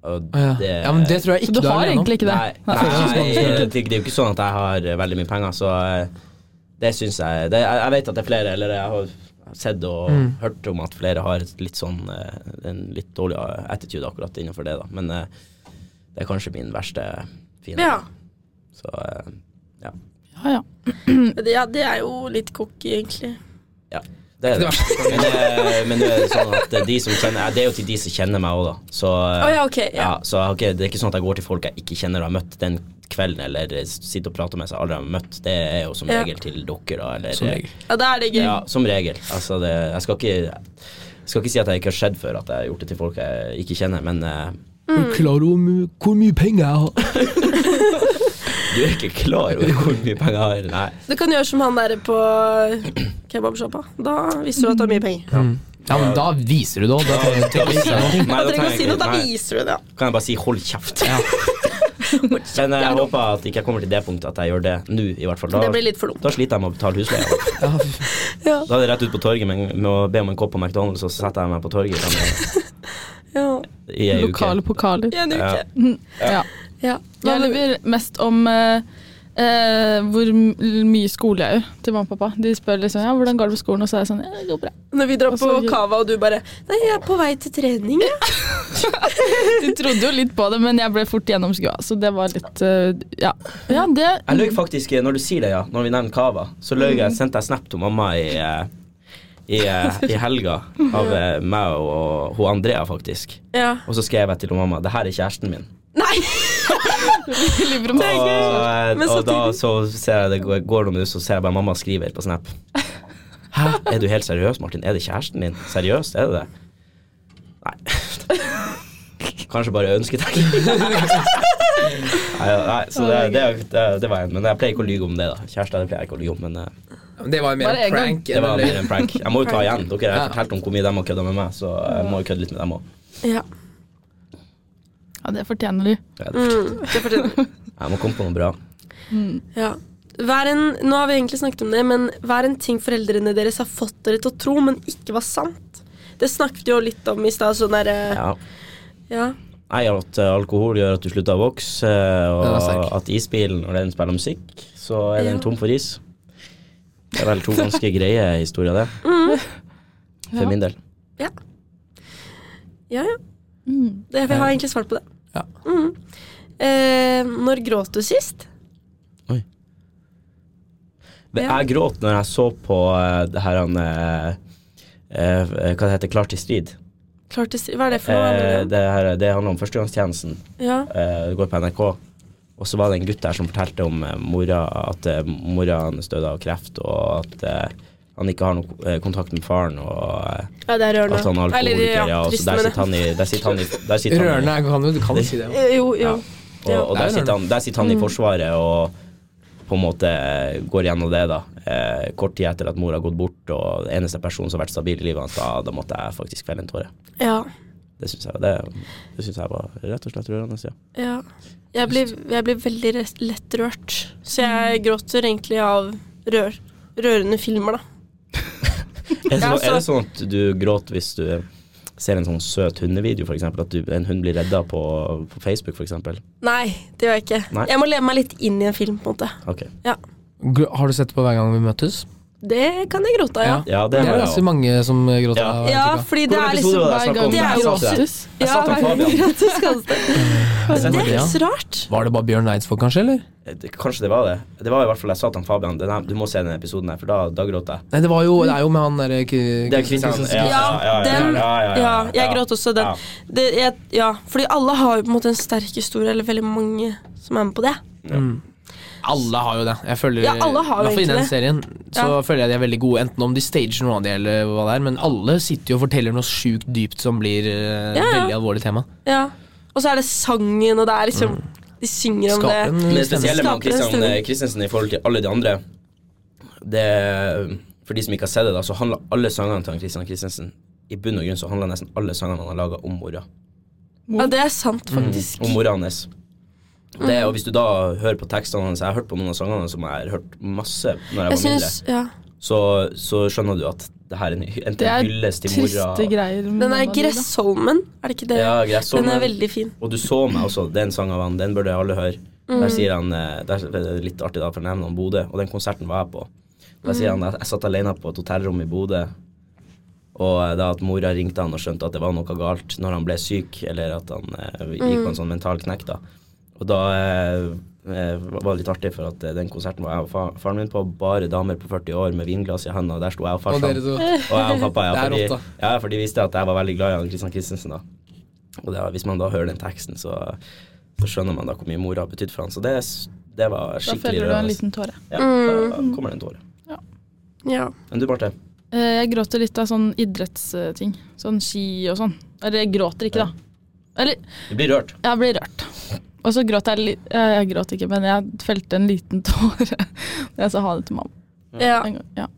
Speaker 3: Og
Speaker 2: Å, ja. ja, men det tror jeg
Speaker 4: Så
Speaker 2: ikke
Speaker 4: du har
Speaker 2: alene om.
Speaker 4: egentlig ikke det?
Speaker 3: Nei, nei, det, det er jo ikke sånn at jeg har eh, veldig mye penger, så eh, det syns jeg det, jeg, jeg vet at det er flere, eller jeg har sett og hørt om at flere har et litt sånn eh, en litt dårlig eh, attitude akkurat innenfor det, da. Men eh, det er kanskje min verste fiende.
Speaker 1: Ja.
Speaker 3: Så eh, ja.
Speaker 4: Ja, ja.
Speaker 1: Det- ja, det er jo litt cocky, egentlig.
Speaker 3: ja. Det er det. Men, det, men det er sånn at det er de som kjenner ja, Det er jo til de som kjenner meg òg, da. Så eh,
Speaker 1: Å ja, ok.
Speaker 3: Ja,
Speaker 1: Ja.
Speaker 3: så ok, Det er ikke sånn at jeg går til folk jeg ikke kjenner og har møtt den kvelden, eller sitter og prater med seg aldri har møtt. Det er jo som
Speaker 1: Ja.
Speaker 3: regel til dere, da. Eller,
Speaker 2: Som regel.
Speaker 1: ja, da er det gøy.
Speaker 3: Ja, som regel. Altså, det, jeg skal ikke, jeg skal ikke si at jeg ikke har skjedd før at jeg har gjort det til folk jeg ikke kjenner, men eh,
Speaker 4: Mm.
Speaker 2: Er du klar over hvor mye penger jeg har?
Speaker 3: du er ikke klar over hvor mye penger jeg har. Nei.
Speaker 1: Du kan gjøre som han der på kebabsjappa. Da viser du at du har mye penger.
Speaker 2: Ja, men da viser du det òg.
Speaker 3: Da- da viser jeg noe. Nei,
Speaker 1: Da
Speaker 3: da
Speaker 1: trenger du å si
Speaker 3: trenger jeg
Speaker 1: noe, da
Speaker 3: ikke- nei.
Speaker 1: viser du det.
Speaker 3: Kan jeg bare si 'hold kjeft'? Men eh, jeg håper at ikke jeg kommer til det punktet at jeg gjør det nå, i hvert fall. Da,
Speaker 1: Det blir litt for dumt.
Speaker 3: da sliter jeg med å betale husleia.
Speaker 2: Ja, fy faen.
Speaker 1: Ja.
Speaker 3: Da er det rett ut på torget med, med å be om en kopp på McDonald's, og så setter jeg meg på torget sammen
Speaker 1: Ja.
Speaker 3: i ei uke.
Speaker 4: Lokale pokaler.
Speaker 1: I en
Speaker 3: Ja.
Speaker 1: uke.
Speaker 4: Ja.
Speaker 1: Ja.
Speaker 4: Jeg lever mest om eh, eh, hvor m- mye skole jeg gjør til mamma og pappa. De spør liksom ja, hvordan går det på skolen, og så er jeg sånn ja, det går bra.
Speaker 1: Når vi drar på
Speaker 4: Også-
Speaker 1: Cava, og du bare 'Nei, jeg er på vei til trening', jeg.
Speaker 4: De trodde jo litt på det, men jeg ble fort gjennomskua, så det var litt eh, Ja. ja det,
Speaker 3: Jeg løy faktisk, eh, når du sier det, ja, når vi nevner Cava, så løy jeg, sendte jeg snap til mamma i, eh, i, eh, i helga av eh, meg og, og hun Andrea, faktisk.
Speaker 1: Ja.
Speaker 3: Og så skrev jeg til hun mamma det her er kjæresten min.
Speaker 1: Nei!
Speaker 4: Livrom-
Speaker 3: Og, eh,
Speaker 1: Men
Speaker 3: og da
Speaker 1: samtidig-
Speaker 3: så ser jeg det går- går noen minutter, så ser jeg bare mamma skriver på snap. Hæ, er du helt seriøs, Martin? Er det kjæresten din? Seriøst, er det det? Nei. Kanskje bare ønsketegn. nei, nei, så det, det, det, det var en, men jeg pleier ikke å lyge om det, da. Kjærester det pleier jeg ikke å lyge om, men eh,
Speaker 2: Det var jo mer
Speaker 4: Bare en
Speaker 2: en
Speaker 4: gang.
Speaker 2: prank.
Speaker 3: Det
Speaker 2: enn
Speaker 3: var
Speaker 2: en løgn.
Speaker 3: mer en prank. Jeg må jo ta
Speaker 1: Prank.
Speaker 3: igjen. Dere
Speaker 2: Ja.
Speaker 3: har fortalt om hvor mye de har kødda med meg, så eh, jeg må jo kødde litt med dem òg.
Speaker 1: Ja.
Speaker 4: Ja, det fortjener du.
Speaker 1: Mm, det fortjener du.
Speaker 3: Jeg må komme på noe bra.
Speaker 1: Ja. Vær en, nå har vi egentlig snakket om det, men vær en ting foreldrene deres har fått dere til å tro, men ikke var sant. Det snakket vi jo litt om i stad. Sånn derre
Speaker 3: Ja.
Speaker 1: ja.
Speaker 3: Nei, at eh, alkohol gjør at du slutter å vokse, eh,
Speaker 2: Den er
Speaker 3: og
Speaker 2: sterk.
Speaker 3: at isbilen, når den spiller musikk, så er
Speaker 1: Ja.
Speaker 3: den tom for is. Det er vel to ganske greie historier, det.
Speaker 1: Mm.
Speaker 3: For
Speaker 4: Ja.
Speaker 3: min del.
Speaker 1: ja, ja.
Speaker 4: Mm.
Speaker 1: Det, vi har egentlig svart på det.
Speaker 2: Ja.
Speaker 1: Mm. Eh, når gråt du sist?
Speaker 3: Det,
Speaker 1: Ja.
Speaker 3: jeg gråt når jeg så på eh, det her han eh, eh, Hva det heter Klar til strid.
Speaker 1: Klart det, si- hva er det for noe?
Speaker 3: Eh,
Speaker 1: handler det
Speaker 3: det, her, det handler om førstegangstjenesten.
Speaker 1: om? Ja.
Speaker 3: Eh, det går på NRK. Og så var det en gutt der som fortalte om eh, mora, at eh, mora hans døde av kreft, og at eh, han ikke har noe eh, kontakt med faren, og eh,
Speaker 1: ja, det er rørende.
Speaker 3: at han er alkoholiker.
Speaker 1: Eller,
Speaker 3: Ja, og så
Speaker 1: trist,
Speaker 3: altså, der
Speaker 1: men-
Speaker 3: sitter han i Der sitter han i, der sitter han i-
Speaker 2: Rørende er- kan jo- du kan jo si det.
Speaker 1: Eh, Jo, jo.
Speaker 3: Ja. Og, og
Speaker 2: Det er
Speaker 3: der, sitter han, der sitter
Speaker 1: Mm.
Speaker 3: han i Forsvaret og på en måte går gjennom det, da. Eh, kort tid etter at mor har gått bort, og den eneste personen som har vært stabil i livet hans, da, da måtte jeg faktisk felle en tåre.
Speaker 1: Ja.
Speaker 3: Det syns jeg, det, det synes jeg var rett og slett rørende. Ja.
Speaker 1: ja. Jeg blir, jeg blir veldig rett- lett rørt. Så jeg gråter egentlig av rør, rørende filmer, da.
Speaker 3: Er det,
Speaker 1: Ja,
Speaker 3: så,
Speaker 1: altså-
Speaker 3: er det sånn at du gråter hvis du ser en sånn søt hundevideo, f.eks.? At du, en hund blir redda på, på Facebook, f.eks.?
Speaker 1: Nei, det gjør jeg ikke.
Speaker 3: Nei.
Speaker 1: Jeg må leve meg litt inn i en film, på en måte.
Speaker 3: Ok.
Speaker 2: Gr- Har du sett på hver gang vi møtes?
Speaker 1: Det kan jeg gråte av, ja.
Speaker 3: Ja,
Speaker 2: Det
Speaker 3: det
Speaker 2: er
Speaker 3: har
Speaker 2: ganske
Speaker 3: jeg òg.
Speaker 2: mange som eh, gråter.
Speaker 3: Ja.
Speaker 2: av
Speaker 1: Ja,
Speaker 2: Antika.
Speaker 1: fordi det
Speaker 3: Hvordan
Speaker 1: er
Speaker 3: episode
Speaker 1: liksom
Speaker 3: var det jeg
Speaker 4: Hver
Speaker 3: snakket om?
Speaker 4: gang det er
Speaker 3: Jeg satt der.
Speaker 4: gratis.
Speaker 3: Jeg satt om Fabian.
Speaker 1: gratis konsert.
Speaker 3: Jeg
Speaker 1: Det
Speaker 3: satt-
Speaker 1: er ikke så rart.
Speaker 2: Var det bare Bjørn Eidsvåg, kanskje? eller?
Speaker 3: Eh, Det- Kanskje det var det. Det var i hvert fall jeg sa til han Fabian den her- du må se den episoden her, for da, da gråt jeg.
Speaker 2: Nei, det, var jo, det er jo med han eh, derre
Speaker 3: Det er Kristian. Ja, ja, ja, ja,
Speaker 1: den-
Speaker 3: ja, ja,
Speaker 1: Ja,
Speaker 3: ja,
Speaker 1: jeg
Speaker 3: ja.
Speaker 1: gråt også den.
Speaker 3: Ja.
Speaker 1: Det, jeg, ja, fordi alle har jo på en måte en sterk historie, eller veldig mange som er med på det.
Speaker 2: Alle har jo det. Jeg føler,
Speaker 1: Ja, alle har jo
Speaker 2: i hvert fall i
Speaker 1: egentlig det.
Speaker 2: den serien så
Speaker 1: Ja.
Speaker 2: føler jeg de er veldig gode, enten om de stager noe av det eller hva det er, men alle sitter jo og forteller noe sjukt dypt som blir eh,
Speaker 1: Ja, ja.
Speaker 2: veldig alvorlig tema.
Speaker 1: Ja. Og så er det sangen, og det er liksom
Speaker 3: Mm.
Speaker 1: De synger om
Speaker 2: Skaper
Speaker 1: det.
Speaker 2: en
Speaker 3: Men
Speaker 2: stemning.
Speaker 3: det spesielle med
Speaker 1: Skaper en
Speaker 3: han Christian
Speaker 1: stemning.
Speaker 3: eh, Christensen i forhold til alle de andre det, For de som ikke har sett det, da, så handler alle sangene til han Christian Christensen I bunn og grunn så handler nesten alle sangene han har laga, om mora. Mm.
Speaker 1: Ja, det er sant, faktisk.
Speaker 3: Om mora hans. Det, og hvis du da hører på tekstene hans Jeg har hørt på noen av sangene som jeg har hørt masse når jeg
Speaker 1: Jeg
Speaker 3: var mindre,
Speaker 1: syns Ja.
Speaker 3: så, så skjønner du at det her er en, en
Speaker 4: Det er
Speaker 3: hyllest til mora.
Speaker 4: Triste greier. med
Speaker 1: Den er
Speaker 4: mamma di, da.
Speaker 1: Gressholmen, er det ikke det?
Speaker 3: Ja, sånn Gressholmen.
Speaker 1: Den er veldig fin.
Speaker 3: Og du så meg også, det er en sang av han, den burde alle høre. Der sier han, eh, der, det er litt artig da, for å nevne om Bodø, og den konserten var jeg på. Der sier han, jeg satt alene på et hotellrom i Bodø, og eh, da at mora ringte han og skjønte at det var noe galt når han ble syk, eller at han eh, gikk på en sånn mental knekk da. Og da eh, eh, var det litt artig for at eh, den konserten var jeg og fa faren min på, bare damer på 40 år med vinglass i hendene, og der sto jeg og
Speaker 2: Og
Speaker 3: farsan.
Speaker 2: dere to.
Speaker 1: Eh.
Speaker 3: Og jeg og pappa, ja,
Speaker 2: Det er
Speaker 3: fordi,
Speaker 2: rått,
Speaker 3: ja, for de visste at jeg var veldig glad i han Christian Christensen. da. Og det, Hvis man da hører den teksten, så, så skjønner man da hvor mye mora har betydd for han. Så det, er s- det var
Speaker 4: Da
Speaker 3: skikkelig
Speaker 4: feller du en
Speaker 3: rørende.
Speaker 4: liten Mm. tåre.
Speaker 3: Ja, da kommer det en tåre.
Speaker 1: Ja.
Speaker 3: Men du, Marte.
Speaker 4: Eh, Jeg gråter litt av sånn idrettsting. Sånn ski og sånn. Eller jeg gråter ikke, da. Eller
Speaker 3: Du blir rørt.
Speaker 4: jeg blir rørt. Og så gråt jeg litt Jeg gråt ikke, men jeg felte en liten tåre da jeg sa ha det til mamma.
Speaker 1: ja.
Speaker 4: En gang. Ja.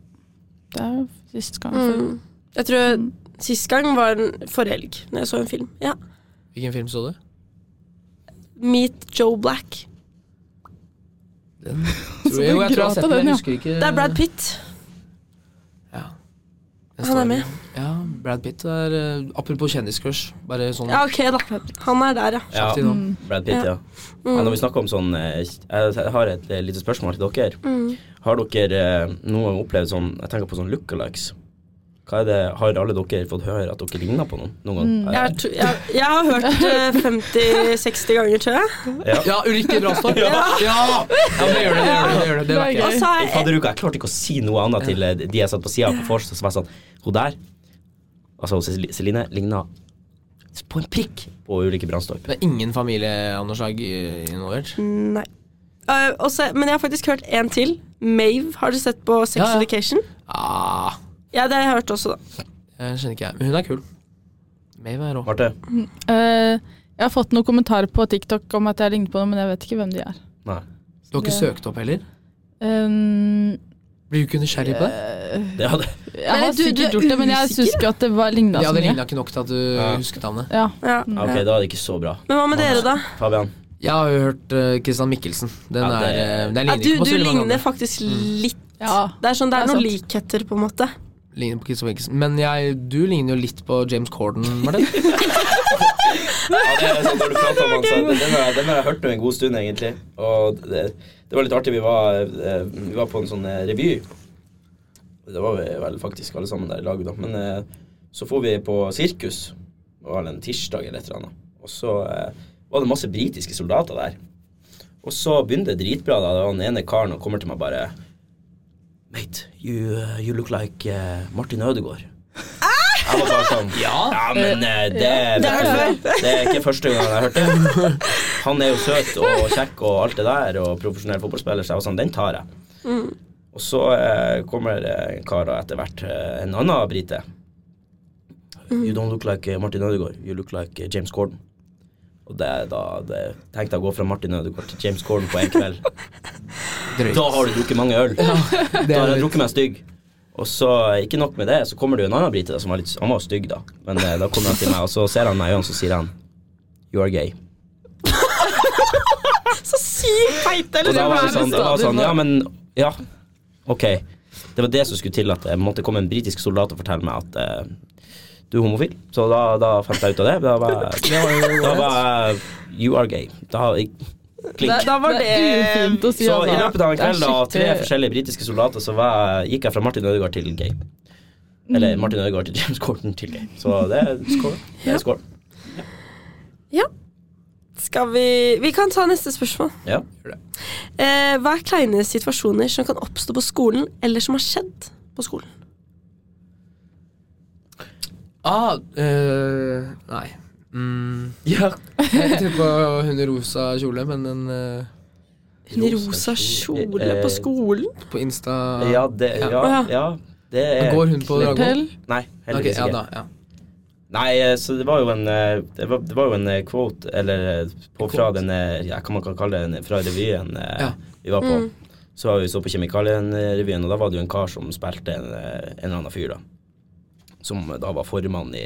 Speaker 4: Det er jo siste gang.
Speaker 1: Mm. Jeg tror sist gang var en forrige helg, når jeg så en film. Ja.
Speaker 2: Hvilken film så du?
Speaker 1: Meet Joe Black.
Speaker 2: Tror jeg, jo, jeg tror jeg har
Speaker 4: gråt
Speaker 2: sett
Speaker 4: av
Speaker 2: den,
Speaker 4: den,
Speaker 2: men
Speaker 4: ja.
Speaker 2: jeg husker ikke.
Speaker 1: Det er Brad Pitt.
Speaker 2: Den
Speaker 1: Han er
Speaker 2: står-
Speaker 1: med.
Speaker 2: Ja, Brad Pitt er eh, Apropos kjendiscrush, bare sånn
Speaker 1: Ja, ok, da. Han er der, ja. Mm.
Speaker 3: Ja,
Speaker 2: kjapt innom.
Speaker 3: Brad Pitt, ja. ja. Når vi snakker om sånn eh, Jeg har et eh, lite spørsmål til dere.
Speaker 4: Mm.
Speaker 3: Har dere eh, noen gang opplevd sånn Jeg tenker på sånn lookalikes. Hva er det, har alle dere fått høre at dere ligner på noen noen
Speaker 4: Mm.
Speaker 1: Jeg,
Speaker 3: gang?
Speaker 1: har tro- jeg, jeg har hørt eh, 50-60 ganger, tror jeg.
Speaker 3: Ja.
Speaker 2: Ja, Ulrikke Brastorp! Ja! ja! men gjør det, det gjør det. det, gjør det. det var
Speaker 4: Det er
Speaker 2: ikke.
Speaker 1: Og så
Speaker 3: I
Speaker 1: har jeg,
Speaker 3: fadderuka, jeg klarte ikke å si noe annet til eh, de jeg satt på sida på vors, som var sånn Hun der, altså Cel- Celine, ligna på en prikk på ulike Brannstorp.
Speaker 2: Det er ingen familieanslag i- involvert.
Speaker 1: nei. Eh, og så- men jeg har faktisk hørt en til. Mave. Har du sett på Sex
Speaker 2: Ja, ja.
Speaker 1: Education?
Speaker 2: Ah,
Speaker 1: Ja, det har jeg hørt også, da.
Speaker 2: jeg skjønner ikke, jeg. Men hun er kul. Mave er rå.
Speaker 3: Marte?
Speaker 4: Eh, jeg har fått noen kommentarer på TikTok om at jeg ligner på noen, men jeg vet ikke hvem de er.
Speaker 3: Nei.
Speaker 2: Du har ikke søkt opp heller?
Speaker 4: Um,
Speaker 2: Blir du ikke nysgjerrig på
Speaker 1: Eh,
Speaker 2: det?
Speaker 3: Det hadde
Speaker 4: jeg
Speaker 1: Nei,
Speaker 4: har
Speaker 1: du- du er
Speaker 4: sikkert gjort det, men jeg syns ikke at det var ligna
Speaker 2: Ja,
Speaker 4: så
Speaker 2: det
Speaker 4: mye.
Speaker 2: ligna ikke nok til at du
Speaker 3: Ja.
Speaker 2: husket navnet.
Speaker 4: Ja.
Speaker 1: Ja.
Speaker 3: Ok, da er det ikke så bra.
Speaker 1: Men hva med dere, da?
Speaker 3: Fabian?
Speaker 2: Jeg har jo hørt eh, Christian Mikkelsen. Den
Speaker 3: Ja,
Speaker 2: er
Speaker 3: det-
Speaker 2: eh, Den
Speaker 1: Ja,
Speaker 2: ligner
Speaker 1: du,
Speaker 2: ikke på
Speaker 1: du
Speaker 2: så veldig mange
Speaker 1: ligner
Speaker 2: andre.
Speaker 1: faktisk litt.
Speaker 4: ja.
Speaker 1: Det er sånn, det er
Speaker 4: Det er
Speaker 1: noen
Speaker 4: sant.
Speaker 1: likheter, på en måte.
Speaker 2: Ligner på Christian Mikkelsen. Men jeg, du ligner jo litt på James Corden, Martin.
Speaker 3: Ja, det er sånn, når du prater om han, så den, har, jeg- den har jeg hørt nå en god stund, egentlig. Og det, det var litt artig. Vi var, eh, vi var på en sånn eh, revy. Det var vi vel faktisk alle sammen der i lag, da. Men eh, så for vi på sirkus. Det var vel en tirsdag eller et eller annet. Og så eh, var det masse britiske soldater der. Og så begynte det dritbra. da, Det var Den ene karen og kommer til meg bare Mate, you, uh, you look like eh, Martin Ødegaard. Jeg var bare sånn Ja, men eh, det,
Speaker 1: Det har du hørt
Speaker 3: det er ikke første gang jeg har hørt det. Han er jo søt og kjekk og alt det der, og profesjonell fotballspiller, så jeg var sånn, den tar jeg. Og så eh, kommer eh, en kar og etter hvert eh, en annen brite. You don't look like eh, Martin Ødegaard, you look like eh, James Corden. Og det, er da, det tenkte jeg å gå fra Martin Ødegaard til James Corden på en kveld.
Speaker 2: Drøyt.
Speaker 3: Da har du drukket mange øl.
Speaker 2: Det
Speaker 3: Da har
Speaker 2: er
Speaker 3: jeg
Speaker 2: litt-
Speaker 3: drukket meg stygg. Og så, ikke nok med det, så kommer det jo en annen brite da, som var litt Han var jo stygg, da. Men eh, da kommer han til meg, og så ser han meg i øynene, så sier han You are gay.
Speaker 1: Så sykt feit!
Speaker 3: Og
Speaker 1: Eller?
Speaker 3: da var det sånn, da var det sånn Ja,
Speaker 4: nå.
Speaker 3: men Ja, ok. Det var det som skulle til, at det måtte komme en britisk soldat og fortelle meg at eh, du er homofil. Så da, da fant jeg ut av det. Da var jeg
Speaker 2: Det var jo
Speaker 3: da var jeg, You are gay. Da jeg,
Speaker 1: Da,
Speaker 3: Klink.
Speaker 1: da var
Speaker 4: Det
Speaker 1: det
Speaker 4: er ufint å si,
Speaker 3: Så i
Speaker 4: altså.
Speaker 3: løpet av en
Speaker 4: Det er
Speaker 3: kveld av tre
Speaker 4: skikkelig-
Speaker 3: forskjellige britiske soldater, så var, jeg- gikk jeg fra Martin Ødegaard til gay.
Speaker 2: Mm.
Speaker 3: Eller Martin Ødegaard til James Corden til gay. Så det er skål. Det er skål.
Speaker 1: Skal vi Vi kan ta neste spørsmål.
Speaker 3: Ja.
Speaker 1: Eh, hva er kleine situasjoner som kan oppstå på skolen, eller som har skjedd på skolen?
Speaker 2: Ah, eh, nei. Mm,
Speaker 3: ja.
Speaker 2: jeg tenkte på hun i rosa kjole, men den eh,
Speaker 1: Hun i rosa kjole på skolen?
Speaker 2: på Insta
Speaker 3: Ja, det, ja, ja, det er
Speaker 2: Går hun på Dragvoll?
Speaker 4: Til
Speaker 3: Nei,
Speaker 2: Ok,
Speaker 3: heldigvis
Speaker 2: ja
Speaker 3: ikke.
Speaker 2: da. Ja.
Speaker 3: Nei, eh, så det var jo en eh, Det var, det var jo en eh, quote, eller eh, på, fra den eh, ja, Hva man kan kalle det, en- fra revyen eh,
Speaker 2: Ja.
Speaker 3: vi var
Speaker 1: Mm.
Speaker 3: på. Så var vi så på Kjemikalien-revyen, og da var det jo en kar som spilte en, eh, en eller annen fyr, da. Som eh, da var formann i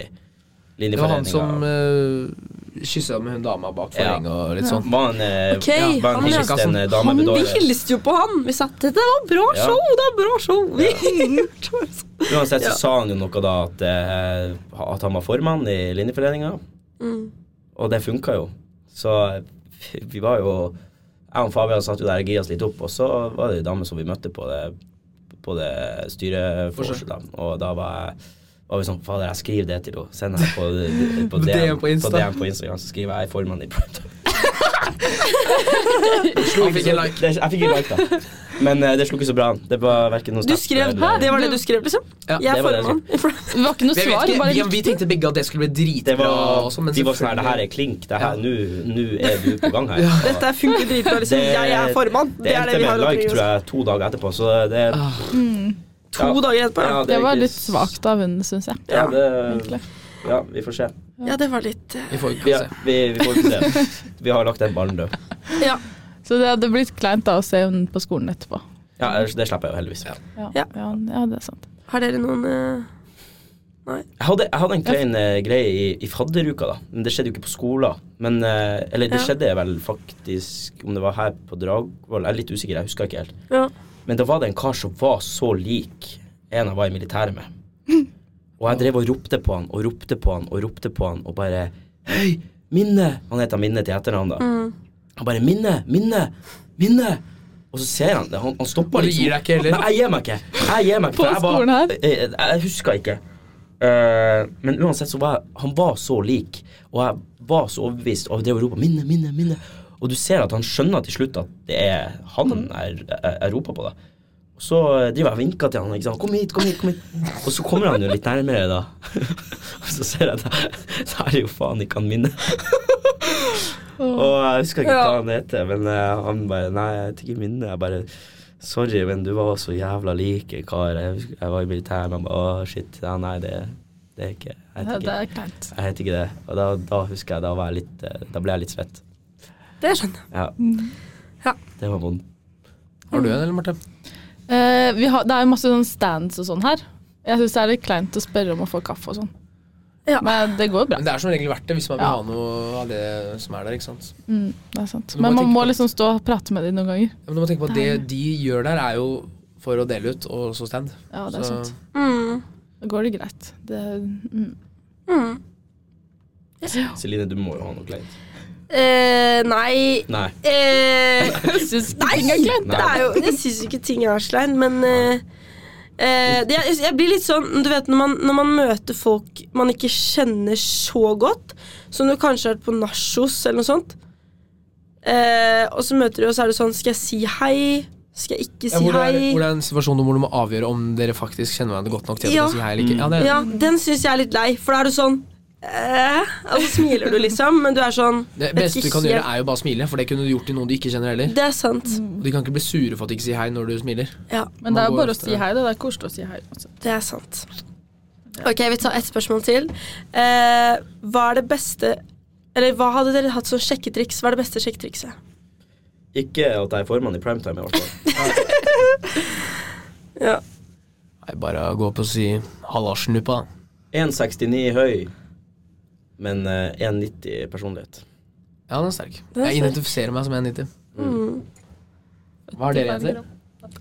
Speaker 2: Det var han
Speaker 3: Linjeforeninga.
Speaker 2: som eh, uh, kyssa med hun dama bak
Speaker 3: Ja.
Speaker 2: forhenget og litt sånn.
Speaker 3: var en, eh,
Speaker 1: Ok,
Speaker 3: ja, var
Speaker 1: han
Speaker 3: en, hilst,
Speaker 2: ja.
Speaker 3: en eh, dame
Speaker 1: Han, vi
Speaker 3: bedåret.
Speaker 1: hilste jo på han. Vi satt 'Dette var bra
Speaker 3: Ja.
Speaker 1: show!' Det var bra show Vi-
Speaker 3: Uansett så sa han jo noe da at, eh, at han var formann i linjeforeninga,
Speaker 2: Mm.
Speaker 3: og det funka jo. Så vi var jo Jeg og Fabian satt jo der og gira oss litt opp, og så var det ei dame som vi møtte på det, på det styreforset, da. og da var, jeg, var vi sånn Fader, jeg skriver det til henne. Send henne på, på,
Speaker 2: På DM
Speaker 3: DM,
Speaker 2: på Insta.
Speaker 3: på DM på Instagram, så skriver jeg er formann i Primetime.
Speaker 2: Han fikk en like.
Speaker 3: Det- Jeg fikk en like, da. Men eh, det slo ikke så bra an. Det var verken noe
Speaker 1: Du
Speaker 3: sterkt
Speaker 1: skrev
Speaker 3: eller-
Speaker 1: Det var det du skrev, liksom?
Speaker 2: Ja,
Speaker 1: Jeg er
Speaker 3: det var det
Speaker 1: formann.
Speaker 4: Det var ikke noe
Speaker 2: Vi, vet
Speaker 4: svar.
Speaker 2: ikke,
Speaker 4: Bare
Speaker 2: vi, vi tenkte begge at det skulle bli
Speaker 3: Det
Speaker 2: dritbra.
Speaker 3: var,
Speaker 2: også, men
Speaker 3: de var sånn her, det her
Speaker 2: selvfølgelig-
Speaker 3: er klink, det her, nå nå er du på gang her. Og
Speaker 1: Dette funker dritbra. Liksom.
Speaker 3: Det-
Speaker 1: Jeg er formann. Det er det vi har omkring
Speaker 3: endte med en like,
Speaker 1: oss.
Speaker 3: tror jeg, to dager etterpå, så det er
Speaker 2: Ah.
Speaker 1: To dager etterpå.
Speaker 3: ja,
Speaker 1: Ja.
Speaker 4: Det
Speaker 3: er
Speaker 4: var
Speaker 3: ikke
Speaker 4: litt
Speaker 3: s-
Speaker 4: svakt av henne, syns jeg.
Speaker 3: Ja, det,
Speaker 4: egentlig.
Speaker 3: ja, vi får se.
Speaker 1: ja, det var litt eh,
Speaker 2: Vi får ikke
Speaker 3: Vi,
Speaker 2: se.
Speaker 3: vi, vi får ikke se. Vi har lagt den ballen død.
Speaker 1: Ja.
Speaker 4: Så det hadde blitt kleint da å se henne på skolen etterpå.
Speaker 3: Ja, ellers- det slipper jeg jo heldigvis.
Speaker 4: Ja,
Speaker 1: Ja.
Speaker 4: ja, ja det er sant.
Speaker 1: Har dere noen eh, Nei.
Speaker 3: Jeg hadde, jeg hadde egentlig en eh, greie i, i fadderuka, da. Men det skjedde jo ikke på skolen. Men, eh, eller det
Speaker 1: Ja.
Speaker 3: skjedde vel faktisk om det var her på Dragvoll. Jeg er litt usikker, jeg husker ikke helt.
Speaker 1: Ja.
Speaker 3: Men da var det en kar som var så lik en jeg var i militæret med. Og jeg drev og ropte på han og ropte på han og ropte på han og bare Hei, Minne! Han heter Minne til etternavn, da. Han bare Minne, Minne, Minne! Og så ser han det. Han, han
Speaker 2: Og
Speaker 3: stopper liksom
Speaker 2: du gir deg ikke heller?
Speaker 3: Nei, jeg gir meg ikke. Jeg gir meg ikke.
Speaker 4: På
Speaker 3: for jeg var-
Speaker 4: skolen her?
Speaker 3: Jeg, jeg husker ikke. Eh, men uansett så var jeg, han var så lik, og jeg var så overbevist, og jeg drev og ropa 'minne, minne, minne'. Og du ser at han skjønner til slutt at det er han
Speaker 4: Mm.
Speaker 3: jeg, jeg, jeg roper på. da Og så eh, driver jeg og vinker til han. Ikke sant? 'Kom hit, kom hit, kom hit.' Og så kommer han jo litt nærmere, da. og så ser jeg at det det her er jo faen ikke han minne. og jeg husker ikke
Speaker 1: Ja.
Speaker 3: hva han heter, men eh, han bare 'Nei, jeg heter ikke minne'. Jeg bare Sorry, men du var så jævla lik en kar. Jeg, husker- jeg var i militæret, men bare, å, shit. Ja, nei, det, det er ikke Jeg
Speaker 4: Ja,
Speaker 3: heter
Speaker 4: det
Speaker 3: ikke,
Speaker 4: er kleint.
Speaker 3: jeg heter ikke det. Og da, da husker jeg, da, var jeg litt, eh, da ble jeg litt svett.
Speaker 1: Det skjønner jeg.
Speaker 3: Ja.
Speaker 1: Mm. Ja.
Speaker 3: Det var vondt.
Speaker 2: Har du en, eller, Marte?
Speaker 4: Eh, vi har, det er jo masse sånn stands og sånn her. Jeg syns det er litt kleint å spørre om å få kaffe og sånn.
Speaker 1: Ja.
Speaker 4: Men det går bra.
Speaker 2: Men det er som regel verdt det, hvis man vil
Speaker 4: Ja.
Speaker 2: ha noe av det som er der. ikke sant?
Speaker 4: Mm, det er sant.
Speaker 2: Du må
Speaker 4: Men man
Speaker 2: tenke
Speaker 4: må
Speaker 2: på-
Speaker 4: liksom stå og prate med dem noen ganger.
Speaker 2: Ja, men du må tenke på at det de gjør der, er jo for å dele ut, og så stand.
Speaker 4: Ja, det er
Speaker 2: Så-
Speaker 4: sant.
Speaker 1: Mm.
Speaker 4: Da går det greit. Det, mm.
Speaker 1: Mm.
Speaker 3: Celine, du må jo ha noe kleint.
Speaker 1: Eh, nei
Speaker 3: Nei.
Speaker 1: eh,
Speaker 4: Jeg syns
Speaker 1: Nei,
Speaker 4: ting er kleint.
Speaker 1: det er jo, jeg syns ikke ting er slein, men eh, eh, det, jeg, jeg blir litt sånn Du vet når man, når man møter folk man ikke kjenner så godt, som du kanskje har vært på nachos eller noe sånt, eh, og så møter du, og så er det sånn Skal jeg si hei? Skal jeg ikke
Speaker 2: Ja,
Speaker 1: si
Speaker 2: hvor, det er,
Speaker 1: hei?
Speaker 2: hvor det er en situasjon hvor du må avgjøre om dere faktisk kjenner hverandre godt nok til
Speaker 1: Ja. Mm.
Speaker 2: å si hei eller ikke. Ja, det er,
Speaker 1: Ja, den syns jeg er litt lei, for da er du sånn eh, Og så smiler du, liksom, men du er sånn
Speaker 2: Det
Speaker 1: vet
Speaker 2: beste du
Speaker 1: ikke
Speaker 2: kan gjøre,
Speaker 1: helt-
Speaker 2: er jo bare å smile, for det kunne du gjort til noen du ikke kjenner heller.
Speaker 1: Det er sant.
Speaker 2: Og de kan ikke bli sure for at de ikke sier hei når du smiler.
Speaker 1: Ja,
Speaker 4: Men det
Speaker 2: Man
Speaker 4: er jo
Speaker 2: går
Speaker 4: bare å
Speaker 2: ofte-
Speaker 4: si hei. Det er koselig å si hei. Også.
Speaker 1: det er sant. Ok, vi tar ett spørsmål til. Eh, hva er det beste Eller hva hadde dere hatt som sjekketriks? Hva er det beste sjekketrikset?
Speaker 3: Ikke at jeg er formann i primetime, i hvert fall.
Speaker 1: Ja.
Speaker 2: Nei, bare gå opp og si 'hallarsen, du, på'.
Speaker 3: 1,69 høy, men eh, 1,90 personlighet.
Speaker 2: Ja, den er sterk.
Speaker 1: Den er
Speaker 2: Jeg
Speaker 1: sterk. Mm.
Speaker 2: identifiserer meg som 1,90. Hva har dere, jenter?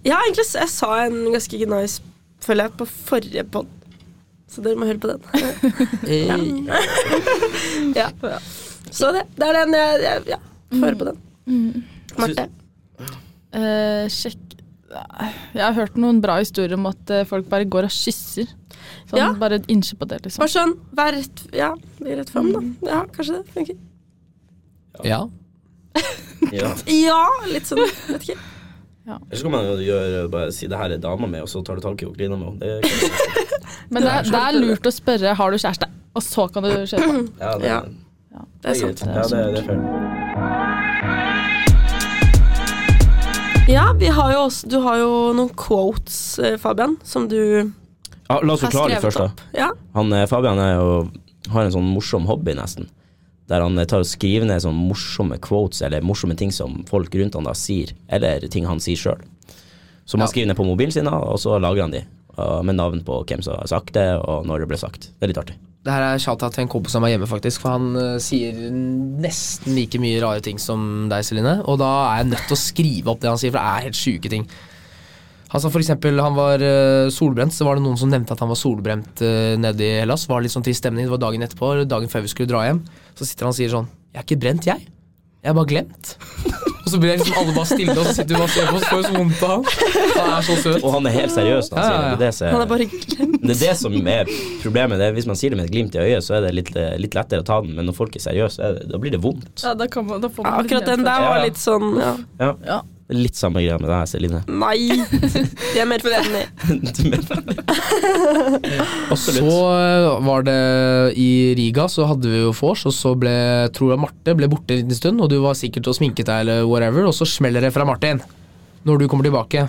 Speaker 1: Jeg har egentlig Jeg sa en ganske nice, føler jeg, på forrige pod. Så dere må høre på den. Ja. Så det, det er den jeg, jeg Ja, får høre på den. Mm. Marte?
Speaker 4: Eh, sjekk Jeg har hørt noen bra historier om at eh, folk bare går og kysser. Sånn,
Speaker 1: Ja.
Speaker 4: Bare et innsjø på det, liksom.
Speaker 1: Bare sånn, vær rett Ja, bli rett fram, da. Ja, kanskje det funker.
Speaker 2: Eh, Ja.
Speaker 3: Ja.
Speaker 1: Ja, litt sånn, vet ikke.
Speaker 3: Ellers kan man jo gjøre, bare si det her er dama mi, og så tar du tak i henne og kliner med henne. Det kan-
Speaker 4: Men det, er- det er lurt å spørre har du kjæreste, og så kan du kjøpe.
Speaker 3: Ja, det,
Speaker 1: Ja. Det er
Speaker 3: greit.
Speaker 1: sant.
Speaker 3: Ja, det, det er fair.
Speaker 1: Ja, vi har jo også, du har jo noen quotes, eh, Fabian, som du
Speaker 3: Ja, la oss
Speaker 1: har
Speaker 3: forklare litt
Speaker 1: skrevet
Speaker 3: først, da.
Speaker 1: opp. Ja,
Speaker 3: Han, eh, Fabian er jo, har en sånn morsom hobby, nesten. Der han eh, tar og skriver ned sånne morsomme quotes eller morsomme ting som folk rundt han da sier, eller ting han sier sjøl. Som han
Speaker 2: Ja.
Speaker 3: skriver ned på mobilen sin, da, og så lagrer han de. og- Med navn på hvem som har sagt det, og når det ble sagt. Det er litt artig.
Speaker 2: Det her er shout-out til en kompis av meg hjemme, faktisk. For han eh, sier nesten like mye rare ting som deg, Celine. Og da er jeg nødt til å skrive opp det han sier, for det er helt sjuke ting. Han sa for eksempel han var eh, solbrent, så var det noen som nevnte at han var solbrent eh, nede i Hellas. Var litt sånn trist stemning. Det var dagen etterpå, eller dagen før vi skulle dra hjem. Så sitter han og sier sånn Jeg er ikke brent, jeg. Jeg er bare glemt. og så blir jeg liksom alle bare stille, og så sitter vi bare og ser på oss, får jo så vondt av han. Han er så søt.
Speaker 3: Og han er helt seriøs. når Han
Speaker 2: Ja, ja,
Speaker 3: sier det. det. er Det, som-
Speaker 1: han er bare glemt.
Speaker 3: det er det som er problemet. Det er, hvis man sier det med et glimt i øyet, så er det litt, eh, litt lettere å ta den, men når folk er seriøse, er det- da blir det vondt.
Speaker 4: Ja, da kan man, da får
Speaker 1: Ja,
Speaker 4: man litt
Speaker 1: akkurat den der
Speaker 4: nedfor.
Speaker 3: Ja,
Speaker 1: var
Speaker 3: ja.
Speaker 1: litt sånn ja.
Speaker 4: Ja.
Speaker 3: Det er Litt samme greia med deg, Celine.
Speaker 1: Nei! Det er mer funny.
Speaker 3: Du mener-
Speaker 2: Og så eh, var det i Riga, så hadde vi jo vors, og så ble tror jeg Marte ble borte en liten stund, og du var sikkert og sminket deg eller whatever, og så smeller det fra Martin når du kommer tilbake.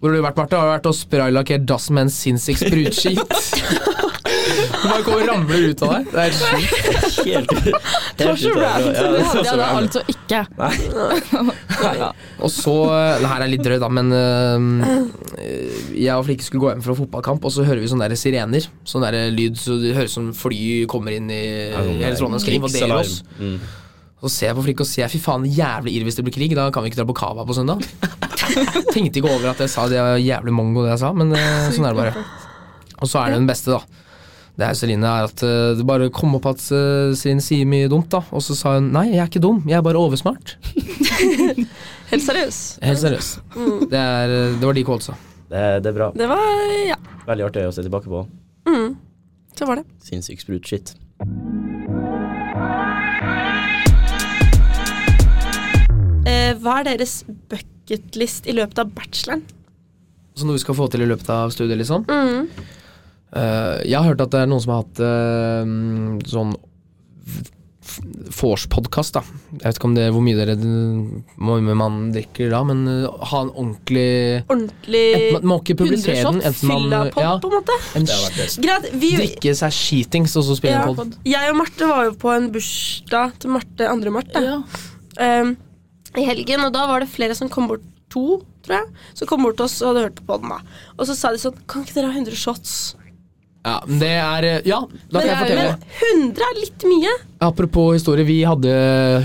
Speaker 2: Hvor har du vært, Marte? Har du vært og spraylakkert dass med en sinnssyk sprutskitt? Du bare kommer og ramler ut av deg. Det er helt sjukt.
Speaker 3: Helt ut.
Speaker 4: Det var så
Speaker 3: Ja,
Speaker 4: random.
Speaker 3: det
Speaker 4: Det
Speaker 3: var
Speaker 4: hadde
Speaker 3: så
Speaker 4: jeg da
Speaker 3: random.
Speaker 4: altså ikke.
Speaker 3: Nei.
Speaker 4: Ja.
Speaker 2: Og så eh, Det her er litt drøyt, da, men øh, jeg og Flikke skulle gå hjem fra fotballkamp, og så hører vi sånne der sirener. Sånn der lyd, så det høres som fly kommer inn i Eh,
Speaker 3: sånn
Speaker 2: hele Trondheim, skal invadere oss.
Speaker 3: Mm.
Speaker 2: Så ser jeg på Flikke og sier fy faen, jævlig irr hvis det blir krig, da kan vi ikke dra på Cava på søndag. Tenkte ikke over at jeg sa det var jævlig mongo, det jeg sa, men øh, sånn er det bare. Og så er det den beste, da. Det er Celine er at øh, det bare kom opp at øh, Celine sier mye dumt, da. Og så sa hun nei, jeg er ikke dum, jeg er bare oversmart.
Speaker 3: sånn.
Speaker 1: Helt seriøs.
Speaker 2: Helt seriøst. Det, er, eh, det var de kålsa.
Speaker 3: Det, er- det er bra.
Speaker 1: Det var Ja,
Speaker 3: Veldig artig å se tilbake på.
Speaker 1: så var det.
Speaker 3: Sinnssykt sprut shit.
Speaker 1: Eh, hva er deres bucketlist i løpet av bacheloren?
Speaker 2: Så noe vi skal få til i løpet av studiet, liksom. Eh, jeg har hørt at det er noen som har hatt eh, mm, sånn f- f- vorspodkast, da. Jeg vet ikke om det er hvor mye dere hvor mye man drikker da, men eh, ha en ordentlig
Speaker 1: Ordentlig
Speaker 2: Man må ikke publisere den.
Speaker 4: 100 shot
Speaker 2: Enten man
Speaker 1: fyllapod,
Speaker 2: ja,
Speaker 1: på en måte?
Speaker 2: en,
Speaker 3: Det har vært best.
Speaker 1: Greit, vi
Speaker 2: drikke seg skitings og så spille
Speaker 1: Ja.
Speaker 2: en pod.
Speaker 1: Jeg og Marte var jo på en bursdag til Marte, andre Marte
Speaker 4: Ja.
Speaker 1: ehm, i helgen, og da var det flere som kom bort to, tror jeg, som kom bort til oss og hadde hørt på podden da. Og så sa de sånn, kan ikke dere ha 100 shots?
Speaker 2: Ja, men det er eh, Ja, da kan jeg
Speaker 1: men,
Speaker 2: fortelle.
Speaker 1: men 100 er litt mye.
Speaker 2: Apropos historie, vi hadde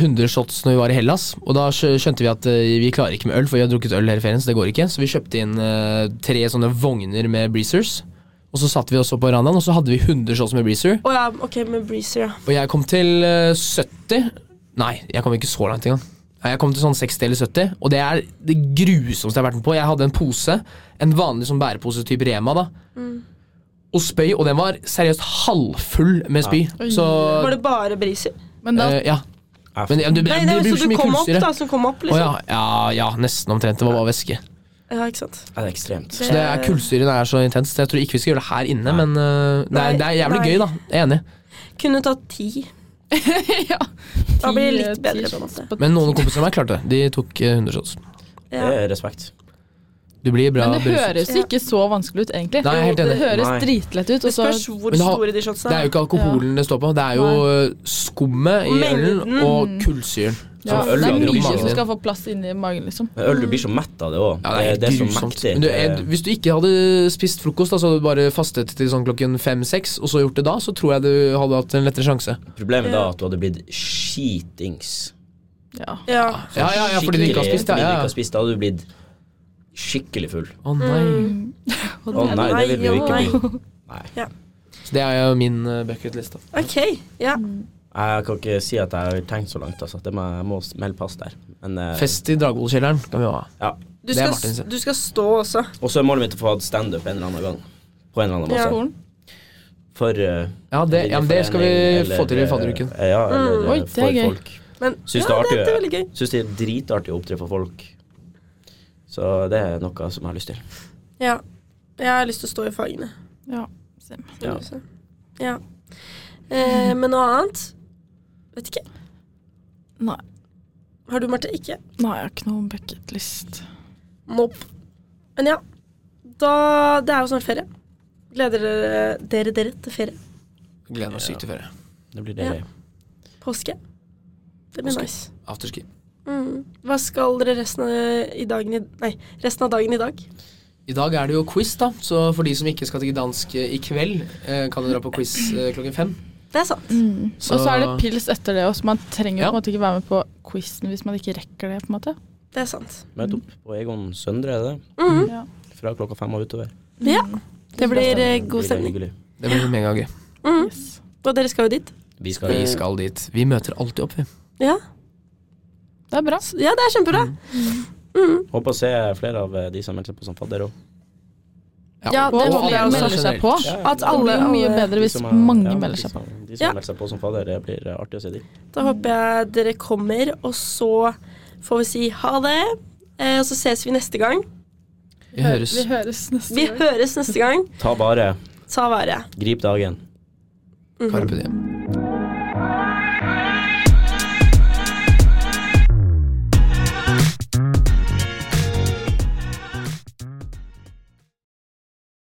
Speaker 2: 100 shots når vi var i Hellas. Og da skjø- skjønte vi at eh, vi klarer ikke med øl, for vi har drukket øl hele ferien. Så det går ikke Så vi kjøpte inn eh, tre sånne vogner med breezers. Og så satt vi også på verandaen, og så hadde vi 100 shots med breezer.
Speaker 1: Å ja, ok, med Breezer, ja.
Speaker 2: Og jeg kom til eh, 70 Nei, jeg kom ikke så langt engang. Nei, Jeg kom til sånn 60 eller 70, og det er det grusomste jeg har vært med på. Jeg hadde en pose, en vanlig sånn bærepose type Rema, da. Og spøy, og den var seriøst halvfull med spy.
Speaker 4: Oi.
Speaker 2: Så
Speaker 1: Var det bare Breezer?
Speaker 4: Men da
Speaker 2: eh, Ja.
Speaker 3: Ja,
Speaker 2: Men ja, det,
Speaker 1: Nei,
Speaker 2: det,
Speaker 1: nei,
Speaker 2: blir jo
Speaker 1: så
Speaker 2: så
Speaker 1: du
Speaker 2: mye
Speaker 1: kom opp
Speaker 2: kullsyre.
Speaker 1: da, som kom opp
Speaker 2: Å
Speaker 1: liksom.
Speaker 2: ja, ja, ja, nesten omtrent. Det var bare væske.
Speaker 1: ja, ikke sant?
Speaker 3: Ja, det er ekstremt.
Speaker 2: Så det er Kullsyren er så intens. Jeg tror ikke vi skal gjøre det her inne, men øh, det,
Speaker 1: Nei,
Speaker 2: er, det er jævlig
Speaker 1: nei.
Speaker 2: gøy, da. Jeg er enig.
Speaker 1: Kunne tatt 10.
Speaker 4: ja.
Speaker 1: Da blir det litt
Speaker 4: Ti-
Speaker 1: bedre,
Speaker 4: ti
Speaker 1: på en
Speaker 4: shots
Speaker 1: måte.
Speaker 2: Men noen kompiser av meg klarte det. De tok øh, 100 shots.
Speaker 1: Ja.
Speaker 3: Det er respekt.
Speaker 2: Du blir bra
Speaker 4: Men det
Speaker 2: beruset.
Speaker 4: høres
Speaker 1: Ja.
Speaker 4: ikke så vanskelig ut, egentlig.
Speaker 2: Nei, jeg er helt
Speaker 4: det
Speaker 2: enig.
Speaker 4: høres
Speaker 3: Nei.
Speaker 4: dritlett ut.
Speaker 1: Det
Speaker 4: Og så
Speaker 1: spørs hvor
Speaker 2: Men ha-
Speaker 1: store de shotsene
Speaker 2: Det er jo ikke alkoholen det står på, det er jo øh, skummet i ølen
Speaker 1: Mengden.
Speaker 2: og kullsyren.
Speaker 4: ja,
Speaker 3: Som øl,
Speaker 4: det er
Speaker 3: da, det blir
Speaker 4: mye
Speaker 3: ikke
Speaker 4: som
Speaker 3: det.
Speaker 4: skal få plass inni magen, liksom.
Speaker 3: Men øl, du blir så
Speaker 1: Mm.
Speaker 3: mett av det
Speaker 2: Ja,
Speaker 3: òg.
Speaker 2: det er helt
Speaker 3: det er så
Speaker 2: grusomt.
Speaker 3: mektig.
Speaker 2: Men du, eh, hvis du ikke hadde spist frokost, da, så hadde du bare fastet til sånn klokken fem-seks, og så gjort det da, så tror jeg du hadde hatt en lettere sjanse.
Speaker 3: Eh, Problemet da er at du hadde blitt skitings.
Speaker 4: Ja.
Speaker 1: Ja.
Speaker 2: Ja, ja, ja, fordi du ikke har
Speaker 3: Skikkelig-
Speaker 2: spist, ja,
Speaker 3: fordi du
Speaker 2: ja.
Speaker 3: ikke har spist, Da hadde du blitt skikkelig full.
Speaker 2: Å nei.
Speaker 1: Mm.
Speaker 3: Å nei, det vil vi jo
Speaker 1: Nei,
Speaker 3: ikke bli.
Speaker 2: Så det er jo min øh, bucketlist, da.
Speaker 1: Ok, ja.
Speaker 3: Jeg kan ikke si at jeg har tenkt så langt, altså. Det må, jeg må melde pass der. Men, eh,
Speaker 2: Fest i Dragvollkjelleren kan vi jo ha.
Speaker 3: Ja.
Speaker 1: Du
Speaker 2: Det er
Speaker 1: skal,
Speaker 2: Martin sin.
Speaker 1: du skal stå også.
Speaker 3: Og så er målet mitt å få hatt standup en eller annen gang. På en eller annen
Speaker 1: Ja.
Speaker 3: måte.
Speaker 4: Skolen.
Speaker 3: For eh,
Speaker 2: Ja, det, ja, men det skal vi
Speaker 3: eller-
Speaker 2: få til i fadderuken.
Speaker 3: eh, Ja, eller eh,
Speaker 4: Oi, det er
Speaker 3: for
Speaker 4: gøy.
Speaker 3: folk.
Speaker 1: Men ja,
Speaker 3: Syns
Speaker 1: det,
Speaker 3: det er
Speaker 1: det er
Speaker 3: artig.
Speaker 1: veldig gøy.
Speaker 3: Syns det er dritartig å opptre for folk. Så det er noe som jeg har lyst til.
Speaker 1: Ja. Jeg har lyst til å stå i fagene.
Speaker 4: Ja. same.
Speaker 3: Ja.
Speaker 1: Ja. Eh, men noe annet? Vet ikke.
Speaker 4: Nei.
Speaker 1: Har du, Marte? Ikke?
Speaker 4: Nei, jeg har ikke noen bucketlist.
Speaker 1: Nope. Men ja. Da, det er jo snart ferie. Gleder dere dere, dere til ferie?
Speaker 2: Gleder meg sykt til ferie.
Speaker 3: Det blir det.
Speaker 1: Ja. Påske? Det blir
Speaker 2: Påske.
Speaker 1: nice.
Speaker 2: Afterski.
Speaker 1: Mm. Hva skal dere resten av, i dagen i, nei, resten av dagen i dag?
Speaker 2: I dag er det jo quiz, da, så for de som ikke skal til Gdansk eh, i kveld, eh, kan du dra på quiz eh, klokken fem.
Speaker 1: Det er sant.
Speaker 2: Så-
Speaker 4: Mm. Og så er det pils etter det også. Man trenger jo
Speaker 2: Ja.
Speaker 4: på en måte ikke være med på quizen hvis man ikke rekker det. på en måte.
Speaker 1: Det er sant. Mm.
Speaker 3: Møt opp på Egon Søndre, er det det?
Speaker 4: Ja. Mm.
Speaker 3: Fra klokka fem og utover.
Speaker 1: Ja. Det blir eh, god
Speaker 3: Blir
Speaker 1: stemning.
Speaker 3: hyggelig.
Speaker 2: Det blir megagøy.
Speaker 4: Yes.
Speaker 1: Mm. Og dere skal jo dit.
Speaker 3: Vi skal,
Speaker 2: Vi skal dit. Vi møter alltid opp, vi.
Speaker 1: Ja,
Speaker 4: Det er bra.
Speaker 1: ja det er kjempebra.
Speaker 4: Mm.
Speaker 1: Mm.
Speaker 3: Håper å se flere av eh, de som meldte seg på som fadder òg.
Speaker 1: Ja, det
Speaker 4: og
Speaker 1: håper jeg
Speaker 4: alle
Speaker 2: sånn
Speaker 1: også.
Speaker 4: melder seg på.
Speaker 3: Ja, ja.
Speaker 1: At
Speaker 4: Det
Speaker 1: alle,
Speaker 4: blir jo mye
Speaker 1: alle
Speaker 4: bedre hvis mange melder seg på.
Speaker 3: De som
Speaker 1: Ja.
Speaker 3: melder seg på som fadder, det blir eh, artig å se de.
Speaker 1: Da håper jeg dere kommer, og så får vi si ha det. Eh, og så ses vi neste gang.
Speaker 2: Vi høres.
Speaker 4: Vi høres
Speaker 1: Vi
Speaker 4: neste gang.
Speaker 1: høres neste gang.
Speaker 3: Ta bare.
Speaker 1: Ta vare. Mhm.
Speaker 3: Grip dagen.
Speaker 2: Carpe diem.